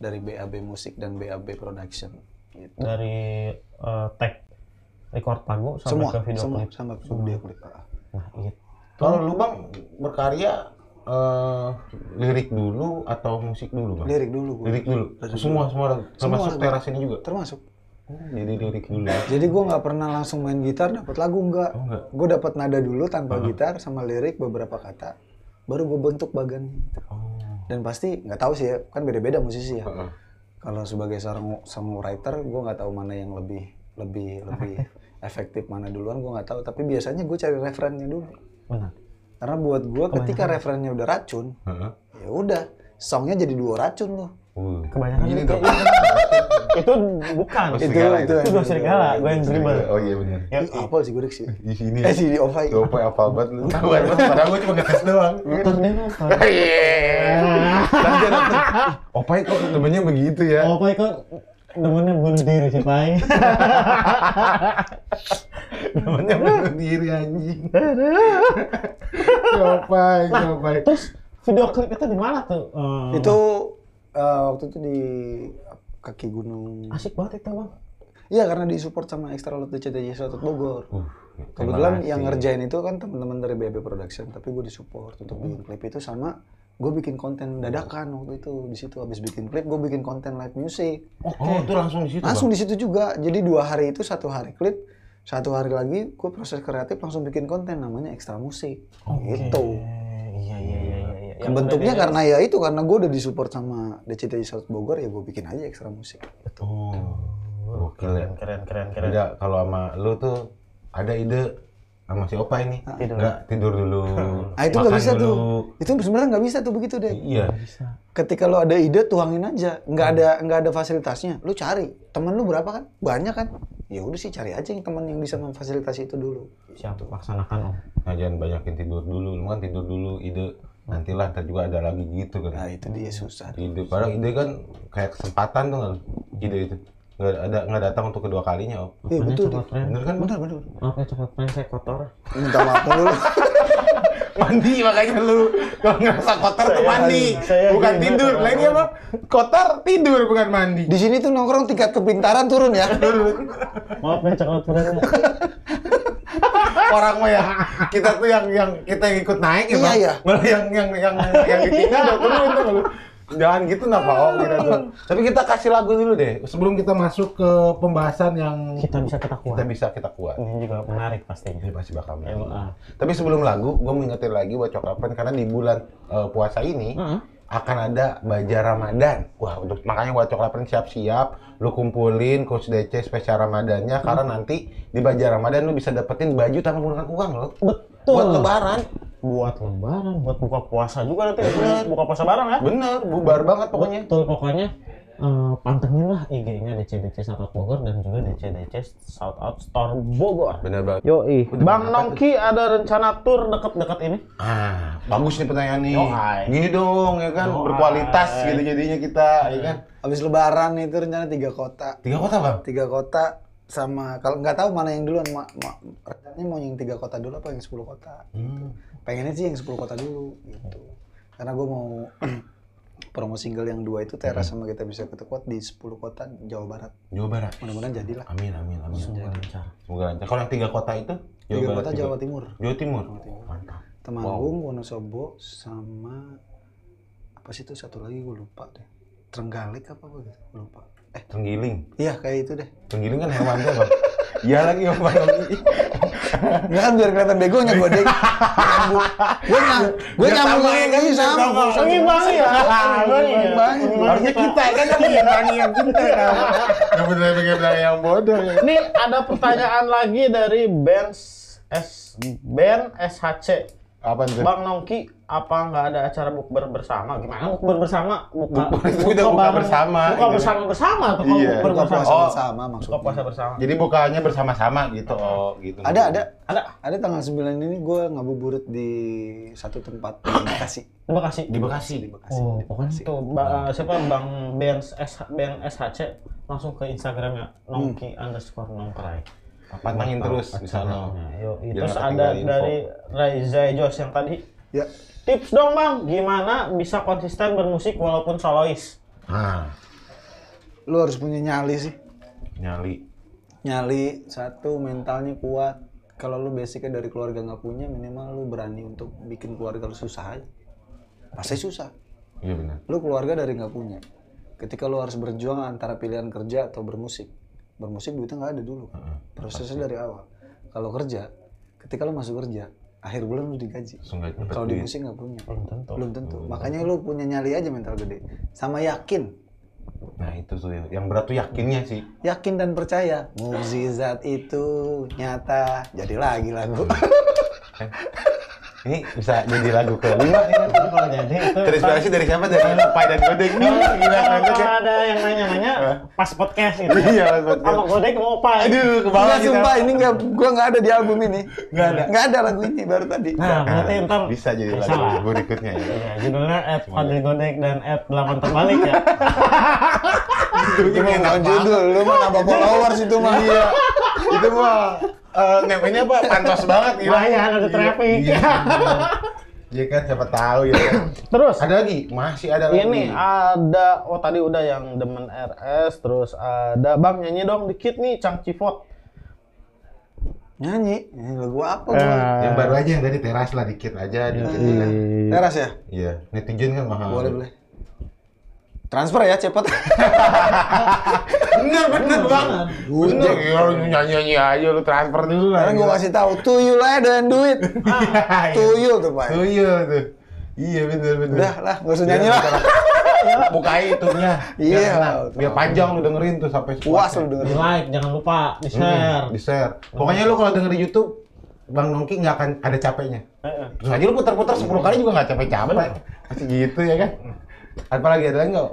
dari BAB Musik dan BAB Production. Gitu.
dari eh, tag record pagu sampai
Semua
ke video
semua
klip.
sampai ke video klip. Ah.
Nah, itu.
Kalau lu bang berkarya eh, lirik dulu atau musik dulu bang?
Lirik dulu gue.
Lirik dulu.
Lirik
semua semua lagu. termasuk
lagu.
teras ini juga.
Termasuk.
Jadi lirik dulu.
Jadi gue nggak pernah langsung main gitar dapat lagu enggak.
Oh, enggak.
Gue dapat nada dulu tanpa gitar sama lirik beberapa kata. Baru gue bentuk bagannya gitu.
Oh.
Dan pasti nggak tahu sih ya, kan beda-beda musisi ya.
Heeh.
Kalau sebagai seorang songwriter, gue nggak tahu mana yang lebih lebih lebih efektif mana duluan gue nggak tahu. Tapi biasanya gue cari referennya dulu.
Benar.
Karena buat gue ketika referennya udah racun,
Heeh.
ya udah songnya jadi dua racun loh.
Uh.
Kebanyakan
Ini
juga
dong.
itu bukan.
Oh, serigala itu.
kan?
Itu dua serigala, gue yang dribble.
Oh iya benar.
Ya,
Ih, Apa sih gue sih?
Di sini.
Eh si di Ovai.
Dope apa banget lu? Tahu kan? Padahal gue cuma ngetes doang.
nonton deh nonton.
Nanti nanti. Opai kok temennya begitu ya?
Oh, Pai kok demennya bunuh diri sih, Pai.
Temennya bunuh diri anjing. Ya, Opai, opai.
Terus video klip itu di mana tuh? Eh,
Itu eh, waktu itu di kaki gunung.
asik banget itu, Bang.
Iya karena disupport sama Extra Lot DCTJ Selatot Bogor.
Uh,
Kebetulan yang ngerjain itu kan teman-teman dari BB Production, tapi gue disupport untuk
Hmm.
bikin klip itu sama gue bikin konten dadakan waktu itu di situ habis bikin klip gue bikin konten live music
Oh, itu langsung di situ.
langsung di situ juga jadi dua hari itu satu hari klip satu hari lagi gue proses kreatif langsung bikin konten namanya ekstra musik gitu
Eh, Iya, iya, iya, iya, iya. Yang
bentuknya
udah
karena ya itu karena gue udah disupport sama DCTJ Selatot Bogor ya gue bikin aja ekstra musik
Bang. Oh. Gokil ya.
di- keren keren keren.
Beda kalau sama lu tuh ada ide sama si Opai nih.
Ah,
Enggak tidur dulu.
ah itu nggak
Makan
bisa tuh
dulu.
itu sebenarnya nggak bisa tuh begitu deh
Iya.
Bisa.
ketika lo ada ide tuangin aja nggak
Hmm.
ada nggak ada fasilitasnya lu cari temen lu berapa kan banyak kan ya udah sih cari aja yang temen yang bisa memfasilitasi itu dulu
Siap laksanakan, Om.
Nah, jangan banyakin tidur dulu. Lu kan tidur dulu ide. Nantilah ntar juga ada lagi gitu
nah
kan.
itu dia
Ah,
susah
Ide padahal ide kan kayak kesempatan tuh kan ide itu. Nggak ada nggak datang untuk kedua kalinya, Om.
iya betul
Coklat
deh.
friend.
Bener kan?
bener bener
Maaf ya coklat friend saya kotor.
minta maaf dulu
mandi makanya lu kalau ngerasa kotor tuh
Saya-
mandi
saya
bukan
gimana,
tidur
Bang?
lagi apa kotor tidur bukan mandi
di sini tuh nongkrong tingkat kepintaran turun ya
Maaf ya coklat friend.
orang mah ya kita tuh yang yang kita yang ikut naik ya
Iya,
Bang.
iya.
malah yang yang yang yang ditinggal udah turun tuh lu jangan gitu napa om kita tuh tapi kita kasih lagu dulu deh sebelum kita masuk ke pembahasan yang
Kita bisa ketakuan.
kita bisa kita kuat
Ini juga menarik pastinya.
ini pasti bakal
Ya,
menarik.
maaf.
Tapi sebelum lagu, gue mau ingetin lagi buat Coklapen karena di bulan eh, puasa ini
Heeh.
akan ada bazar Ramadan. Wah, untuk makanya buat Coklapen siap-siap, lu kumpulin coach DC spesial Ramadannya karena nanti di bazar Ramadan lu bisa dapetin baju tanpa menggunakan uang lo.
Betul.
Buat lebaran.
buat lebaran, buat buka puasa juga nanti buka puasa bareng ya.
Bener, bubar banget pokoknya.
Betul pokoknya eh, pantengin lah IG-nya DCDC South Out Bogor dan juga DCDC South Out Store Bogor.
Bener banget.
Yoi,
Udah,
Bang
apa
Nongki ada rencana tur deket-deket ini?
Ah, bagus nih pertanyaan nih.
Yoi.
Gini dong, ya kan?
Yoi.
Berkualitas gitu jadinya kita, ya kan?
habis lebaran itu rencana tiga kota
Tiga kota, Bang?
tiga kota sama kalau nggak tahu mana yang duluan ma, ma, rencananya mau yang tiga kota dulu apa yang sepuluh kota
Hmm.
pengennya sih yang 10 kota dulu gitu karena gue mau promo single yang dua itu teras
Hmm.
sama kita bisa ketekuat di 10 kota Jawa Barat
Jawa Barat.
mudah-mudahan jadilah
Amin, amin, amin.
Semoga lancar.
Semoga lancar. Kalau yang tiga kota itu?
tiga
Barat
kota
juga.
Jawa Timur
Jawa Timur. Mantap.
Temanggung Wonosobo sama apa sih itu satu lagi gue lupa deh Trenggalek apa gue gitu Gua lupa eh
Tenggiling.
iya kayak itu deh
Tenggiling kan hewan kan, Bang? Iya lagi, Om Bang.
Nggak kan biar kelihatan begonya gue deh gue nyam gue
Biar
nyamuk
samain,
ini
biar
sama
samain.
Mengimbangi ya.
Mengimbangi.
Harusnya kita kan yang menyeberangi yang pintar. Yang benar benar yang bodoh. ya.
Ini ada pertanyaan lagi dari Ben S Ben SHC.
Apa itu?
Bang Nongki, apa nggak ada acara bukber bersama? Gimana bukber bersama? Buka,
Bukber itu udah buka
bareng-
bersama,
Buka
gitu.
bersama bersama atau
Iya,
bukber
Buka
bersama?
puasa
Oh.
bersama
Buka
maksudnya.
puasa bersama.
Jadi bukaannya bersama-sama gitu. Oh, gitu.
Ada ada
Ada.
ada tanggal 9 ini gue ngabuburit di satu tempat di Bekasi.
Terima kasih.
Di Bekasi. Nah.
Oh, pokoknya itu ba- eh, siapa Bang Benz S Benz SHC langsung ke Instagramnya Nongki underscore Nongkrai.
Pantangin Hmm. terus di sana.
Nah, yuk, itu
Jangan
terus ada
ketinggalan info.
dari Raiza Jos yang tadi.
Ya,
Tips dong bang, gimana bisa konsisten bermusik walaupun solois?
Nah,
lu harus punya nyali sih.
nyali.
Nyali satu mentalnya kuat. Kalau lu basicnya dari keluarga nggak punya, minimal lu berani untuk bikin keluarga lu susah aja. Pasti susah.
Iya benar.
Lu keluarga dari nggak punya. Ketika lu harus berjuang antara pilihan kerja atau bermusik. Bermusik duitnya nggak ada dulu. Prosesnya dari awal. Kalau kerja, ketika lu masuk kerja, akhir bulan lu digaji.
Sungguh cepet
Kalau di
duit.
musik nggak punya.
Belum tentu.
Belum tentu. Makanya lu punya nyali aja mental gede. Sama yakin.
Nah, itu tuh yang- yang berat tuh yakinnya sih.
Yakin dan percaya. Mukjizat itu nyata. Jadi lagi lagu.
Ini bisa jadi lagu kelima nih.
Ntar Kalau jadi itu.
Terinspirasi dari siapa? Dari Pai dan Godek nih. Gila
Kalau
banget ya.
kalau ada yang nanya-nanya, pas podcast gitu.
Iya, Mas Podcast.
Sama godek mau apa? Iya,
Aduh, kebawa
Enggak
kita.
sumpah ini nggak gua nggak ada di album ini.
Nggak ada.
Nggak ada lagu ini baru tadi.
Nah, berarti ntar
Bisa jadi
Bisa
lagu
lah.
lagu berikutnya ya.
Iya, judulnya at Fadil Godek dan at 8 terbalik ya.
Itu mah bukan judul, lu mah nambah followers itu mah.
Iya. Itu mah eh, namanya apa? Pantos banget gila.
Lumayan, ada traffic.
Iya, iya. Iya kan siapa tahu ya. kan?
Terus
Ada lagi? Masih ada lagi.
ini ada oh tadi udah yang demen RS terus ada Bang nyanyi dong dikit nih Cang Civot.
Nyanyi, Nyanyi lagu apa gua?
yang baru aja yang dari teras lah dikit aja dikit kan.
Teras ya?
Iya, netizen kan mahal.
Boleh boleh. Transfer ya cepet.
Bener bener bang. Bener. Ya, lu nyanyi nyanyi aja lu transfer dulu lah.
Karena gua kasih tahu tuyul aja dengan duit. Ah. Tuyul tuh Pak.
Tuh iya tuh. Iya bener bener.
Udah lah, nggak usah nyanyi lah.
Bukain itunya.
Iya.
Biar enak. Biar panjang lu dengerin tuh sampai
Puas
sepuasnya.
lu denger.
Di like jangan lupa di share.
di share. Pokoknya lu kalau denger di YouTube, Bang Nongki nggak akan ada capeknya.
Heeh.
Terus aja lu putar-putar 10 kali juga nggak capek-capek. Masih gitu ya kan? Apalagi ada lagi nggak?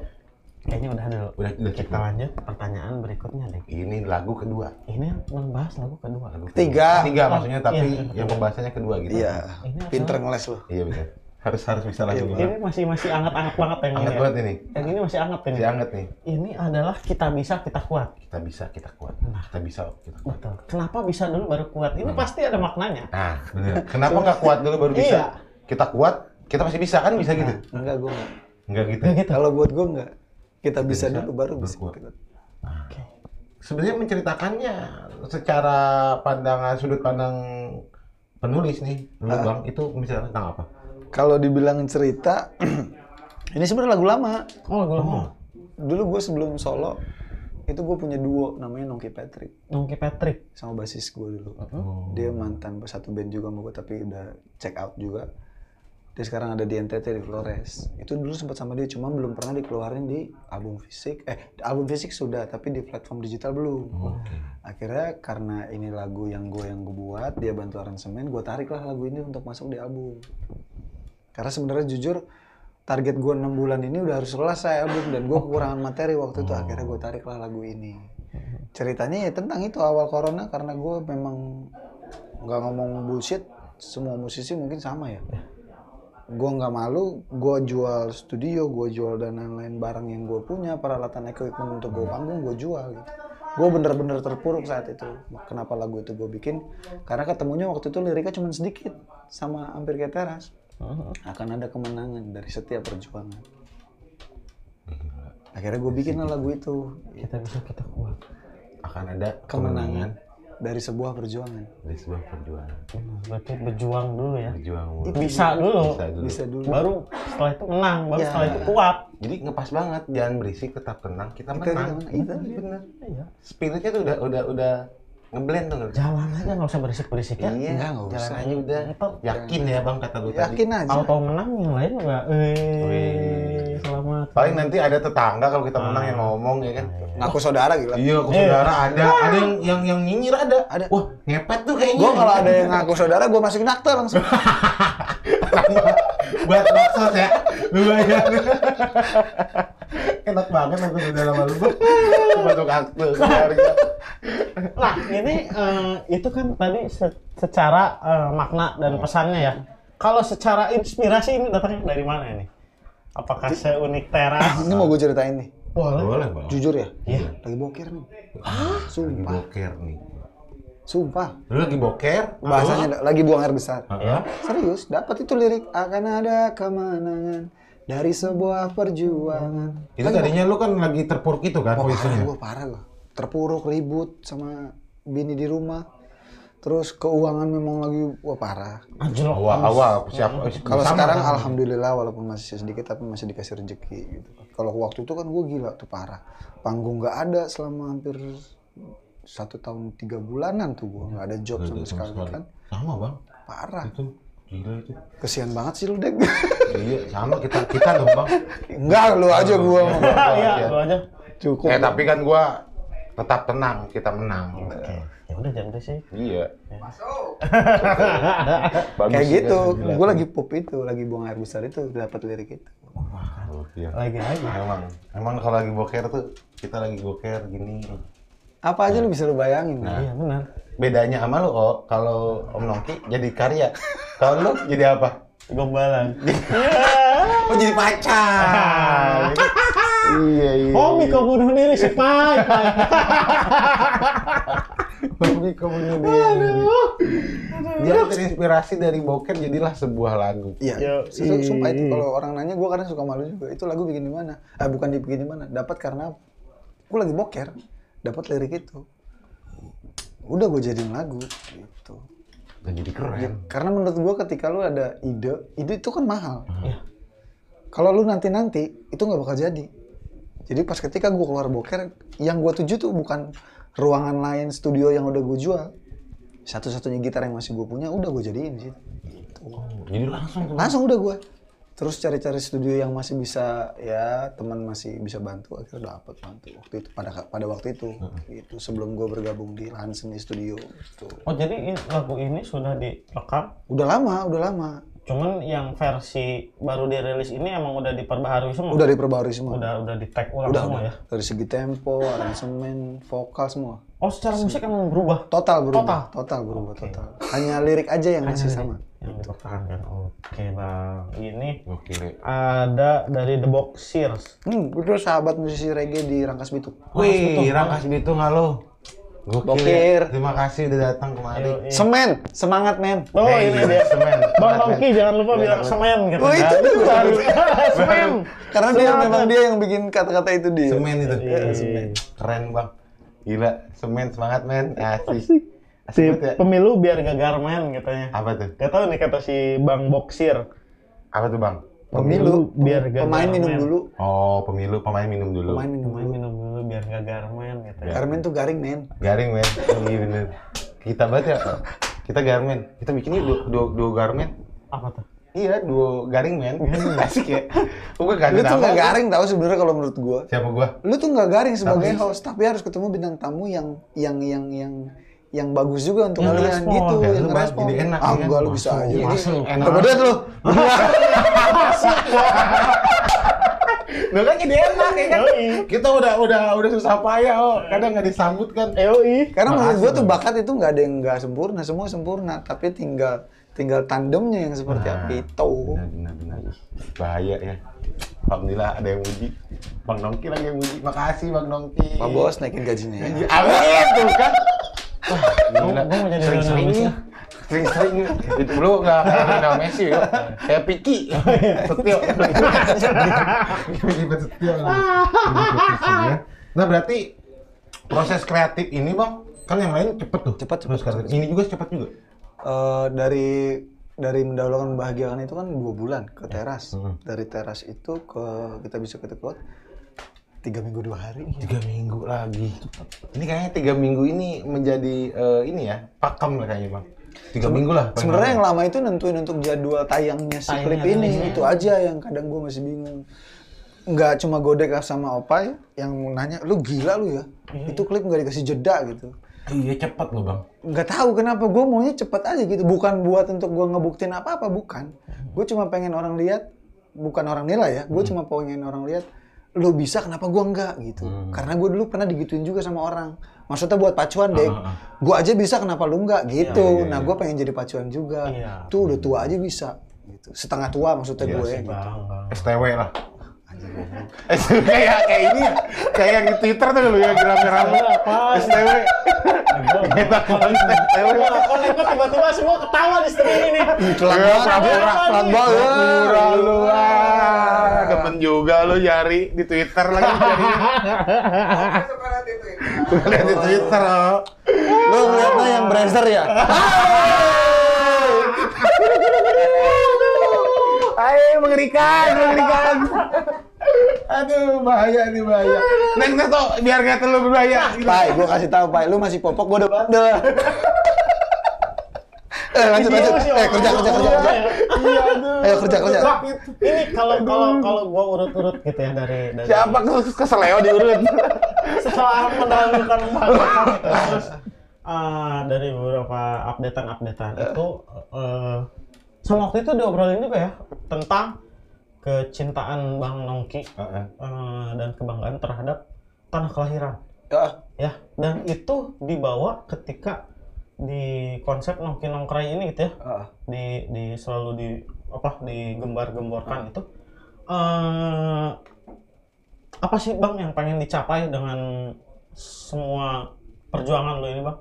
Kayaknya udah dulu.
Udah, udah
Kita lanjut pertanyaan berikutnya deh.
Ini lagu kedua.
Ini membahas lagu kedua.
Lagu kedua.
Ketiga.
Ketiga maksudnya, tapi
Iya.
yang pembahasannya kedua gitu.
Iya,
Ini apa?
pinter ngeles lu.
Iya benar. Harus harus bisa lagi.
Ini masih masih anget-anget banget yang
Anget
ini. ya.
banget ini.
Yang ini masih anget ini.
Si anget nih.
Ini adalah kita bisa kita kuat.
Kita bisa, kita kuat. Kita bisa, oh, kita kuat.
Betul. Kenapa bisa dulu baru kuat? Ini pasti ada maknanya.
Nah, bener. Kenapa nggak kuat dulu baru bisa?
Iya.
Kita kuat, kita pasti bisa kan bisa gitu?
Enggak gua enggak.
Enggak gitu.
Kalau buat gua enggak. Kita bisa dulu baru bisa.
berkuat.
Oke.
sebenarnya menceritakannya secara pandangan sudut pandang penulis nih lu bang itu misalnya tentang apa
Kalau dibilang cerita, ini sebenarnya lagu lama.
Oh, lagu lama.
Dulu gue sebelum solo, itu gue punya duo namanya Nongki Patrick
Nongki Patrick.
sama basis gue dulu. Dia mantan satu band juga sama gue tapi udah check out juga. Dia sekarang ada di NTT di Flores. Itu dulu sempat sama dia cuma belum pernah dikeluarin di album fisik. Eh, di album fisik sudah tapi di platform digital belum. Akhirnya karena ini lagu yang gue yang gue buat, dia bantu aransemen, gue tariklah lagu ini untuk masuk di album. Karena sebenarnya jujur target gue enam bulan ini udah harus selesai album dan gue kekurangan materi waktu itu akhirnya gue tariklah lagu ini. Ceritanya ya tentang itu awal corona karena gue memang nggak ngomong bullshit, semua musisi mungkin sama ya. Gue nggak malu, gue jual studio, gue jual dan lain-lain barang yang gue punya, peralatan equipment untuk gue panggung, gue jual gitu. Gue bener-bener terpuruk saat itu. Kenapa lagu itu gue bikin? Karena ketemunya waktu itu liriknya cuma sedikit sama hampir kayak teras
Hmm.
akan ada kemenangan dari setiap perjuangan. Akhirnya gue bikin lah lagu itu
Kita bisa kita kuat.
akan ada kemenangan
kemenangan dari sebuah perjuangan.
dari sebuah perjuangan
Benar, Berarti berjuang dulu ya.
berjuang mulu.
Bisa Iya. dulu.
Bisa dulu.
Bisa dulu.
Baru setelah itu menang, baru
Ya.
setelah itu kuat.
jadi ngepas banget jangan berisik tetap tenang kita
Kita-
menang
kita menang. Iya,
Bener, bener
Iya.
spiritnya tuh udah udah udah ngeblend tuh nggak?
Jalan aja nggak usah berisik-berisik ya.
iya
Enggak, Ya? nggak
jalan
usah.
aja udah
Tetap.
yakin ya bang kata lu tadi
Yakin aja.
Tahu-tahu menang yang lain juga. Eh, selamat. banget.
Paling nanti ada tetangga kalau kita menang yang ngomong ya kan.
Ngaku saudara gila.
Iya, aku saudara ada, ada yang yang yang nyinyir ada.
Eh. Ada.
Wah, ngepet tuh kayaknya.
Gue kalau ada yang ngaku saudara, gue masukin akte langsung.
buat maksud ya. Lu bayangin. Enak banget aku sudah lama lu. Masuk akte keluarga.
Nah, ini eh, itu kan tadi se- secara eh, makna dan pesannya ya. Kalau secara inspirasi ini datangnya dari mana ini? Apakah seunik teras?
Ini mau gue ceritain nih.
Boleh.
Boleh, Bang.
Jujur ya?
Iya.
Lagi boker nih.
Oh. Lagi
Sumpah.
boker nih.
Sumpah.
Lu lagi boker?
Bahasanya lagi buang air besar.
Heeh.
Serius, dapat itu lirik akan ada kemenangan dari sebuah perjuangan.
Itu tadinya lu kan lagi terpuruk itu kan
Parah
posisinya.
gue parah gue. Terpuruk ribut sama bini di rumah. Terus keuangan memang lagi wah parah.
Anjlok.
Awal-awal siap.
Kalau
sama
sekarang
kan?
alhamdulillah walaupun masih sedikit tapi masih dikasih rezeki gitu. Kalau waktu itu kan gue gila tuh parah. Panggung nggak ada selama hampir satu tahun tiga bulanan tuh gue nggak ada job sama sekali kan. Ah.
sama bang
Parah.
itu gila itu
Kesian banget sih lu dek.
iya sama kita kita dong bang
Enggak lu aja gue.
Iya, lu aja.
Cukup.
eh tapi kan gua tetap tenang kita menang
Oke. Ya udah jangan berisik.
iya
Kayak gitu. Gue lagi pop itu, lagi buang air besar itu dapat lirik itu.
Lagi lagi.
iya. emang emang kalau lagi boker tuh kita lagi boker gini
Apa aja lu bisa lu bayangin.
Iya benar.
bedanya sama lu oh kalau om Nongki jadi karya kalau lu jadi apa
Gombalan. Iya.
oh jadi pacar iya iya
Homi kau bunuh diri si Pai. Pai.
Hobi kau bunuh diri. Jangan terinspirasi dari boker jadilah sebuah lagu.
Yo,
Iya. Su- su- Sumpah itu kalau orang nanya gue kadang suka malu juga. Itu lagu bikin di mana? Eh bukan dibikin di mana? Dapat karena gue lagi boker, dapat lirik itu. Udah gue jadiin lagu gitu. Ya,
Dan jadi keren.
Karena menurut gue ketika lu ada ide, ide itu kan mahal.
Iya.
Kalau lu nanti-nanti itu nggak bakal jadi. Jadi pas ketika gue keluar boker, yang gue tuju tuh bukan ruangan lain studio yang udah gue jual. Satu-satunya gitar yang masih gue punya udah gue jadiin sih.
Jadi langsung
Langsung udah gue. Terus cari-cari studio yang masih bisa ya teman masih bisa bantu akhirnya dapet bantu waktu itu pada pada waktu itu itu sebelum gue bergabung di lahan seni studio gitu.
Oh jadi i- lagu ini sudah direkam,
udah lama udah lama
cuman yang versi baru dirilis ini emang udah diperbaharui semua.
udah diperbarui semua
udah udah di tag ulang
udah,
semua
udah.
ya.
dari segi tempo aransemen vokal semua
Oh secara musik emang berubah.
total berubah
Total?
total, berubah total hanya lirik aja yang masih sama
Yang dipertahankan. Oke bang. Ini
Gokil. ya.
ada dari The Boxers.
hmm itu sahabat musisi reggae di Rangkas Bitung
Wih, Rangkas Bitung halo. Gokil.
Gokil.
ya. Terima kasih udah datang kemari.
semen semangat men
Oh ini dia.
Semen.
Bang Rocky jangan lupa bilang semen gitu.
Oh, itu dia
baru. Semen.
karena dia memang dia yang bikin kata-kata itu dia
Semen itu.
Iya.
Keren, Bang. Gila, semen semangat, men. Asik.
Si
Asik banget ya.
pemilu biar gak garmen katanya.
Apa tuh?
Gak tau nih kata si Bang Boxir.
Apa tuh, Bang?
pemilu
biar gak
pemain minum
garmen.
dulu
Oh, pemilu pemain minum dulu.
pemain minum
Pemain
dulu
minum dulu biar gak garmen gitu ya.
Garmen tuh garing men
Garing, men. Iya bener. Kita banget ya. Kita garmen. Kita bikin ini duo, duo, duo garmen.
Apa tuh?
Iya, duo garing, men. Asik ya. Gue
lu
ganti
tuh nggak
nama.
garing tau sebenarnya kalau menurut gua
Siapa gua?
lu tuh nggak garing sebagai host tapi harus ketemu bintang tamu yang yang yang yang yang bagus juga untuk kalian
ngerespon.
gitu
Ya,
yang
lu bahas
ngerespon.
jadi enak,
ah
ya.
enggak lu bisa
Masuk,
aja
masuk, enak.
kemudian lu
Lo kan jadi enak ya kan? Kita udah udah udah susah payah oh. Kadang nggak disambut kan.
EOI.
karena menurut gua tuh bakat itu nggak ada yang nggak sempurna semua sempurna tapi tinggal tinggal tandemnya yang seperti
Nah.
apa itu
Benar benar benar. Bahaya ya. Alhamdulillah ada yang muji. Bang Nongki lagi yang muji. Makasih Bang Nongki.
pak bos naikin gajinya ya
Amin tuh kan. Wah,
Gua- gua mau jadi
Sering-sering
Lionel Messi.
ya. Sering-sering ya. Itu lu nggak kayak Lionel Messi ya. Kayak Piki. Setio. Piki Setio. Nah berarti proses kreatif ini bang kan yang lain cepet tuh
Cepet, cepet,
Proses kreatif. ini juga cepet juga
Eh, dari dari mendahulukan membahagiakan itu kan dua bulan ke teras dari teras itu ke kita bisa ke tekot tiga minggu dua hari
tiga minggu lagi ini kayaknya tiga minggu ini menjadi eh, ini ya pakem lah kayaknya bang tiga minggu lah paling
Sebenarnya yang
lama.
lama itu nentuin untuk jadwal tayangnya si
Tayangnya
klip ini
rilisnya.
itu aja yang kadang gue masih bingung. nggak cuma godek sama opai yang nanya lu gila lu ya itu klip nggak dikasih jeda gitu
Iya cepet loh bang.
nggak tahu kenapa gue maunya cepet aja gitu bukan buat untuk gue ngebuktiin apa apa bukan
Hmm.
gue cuma pengen orang lihat bukan orang nilai ya gue cuma pengen orang lihat lu bisa kenapa gue enggak gitu
Hmm.
karena gue dulu pernah digituin juga sama orang maksudnya buat pacuan
Ah,
deh gue aja bisa kenapa lu enggak
Iya,
gitu nah gue pengen jadi pacuan juga
Iya.
tuh udah tua aja bisa gitu setengah tua maksudnya
Iya
gue gitu.
Ah,
STW lah. STW kayak kayak ini ya. kayak yang di Twitter tuh dulu yang rame-rame.
Apa?
STW. Kita kan STW.
Konekku tiba-tiba semua ketawa di stream ini.
Telat
Ya,
banget,
pura-pura,
telat
pura-pura
banget.
lu ah. Demen juga lu nyari di Twitter lagi jadinya.
suka lihat itu ya.
Gua liat di Twitter. oh.
Lu ngeliatnya yang browser ya?
Ayo mengerikan, mengerikan. Aduh, bahaya nih bahaya. Neng Neto, biar gak terlalu berbahaya.
Pai, gua kasih tahu Pai, lu masih popok, gua udah bandel.
Iya,
eh,
Iya,
lanjut, lanjut. Eh, kerja, kerja, kerja, kerja.
Iya, aduh.
Ayo, kerja, kerja.
Ini kalau kalau kalau gua urut-urut gitu ya dari dari
Siapa kes- keseleo diurut?
setelah mendahulukan pembahasan gitu, terus ah, dari beberapa updatean-updatean itu eh, sama waktu itu diobrolin juga ya tentang kecintaan Bang Nongki eh, dan kebanggaan terhadap tanah kelahiran
Ah,
ya dan itu dibawa ketika di konsep nongki nongkrai ini gitu ya
ah.
di di selalu di apa digembar-gemborkan itu eh apa sih bang yang pengen dicapai dengan semua perjuangan lo ini bang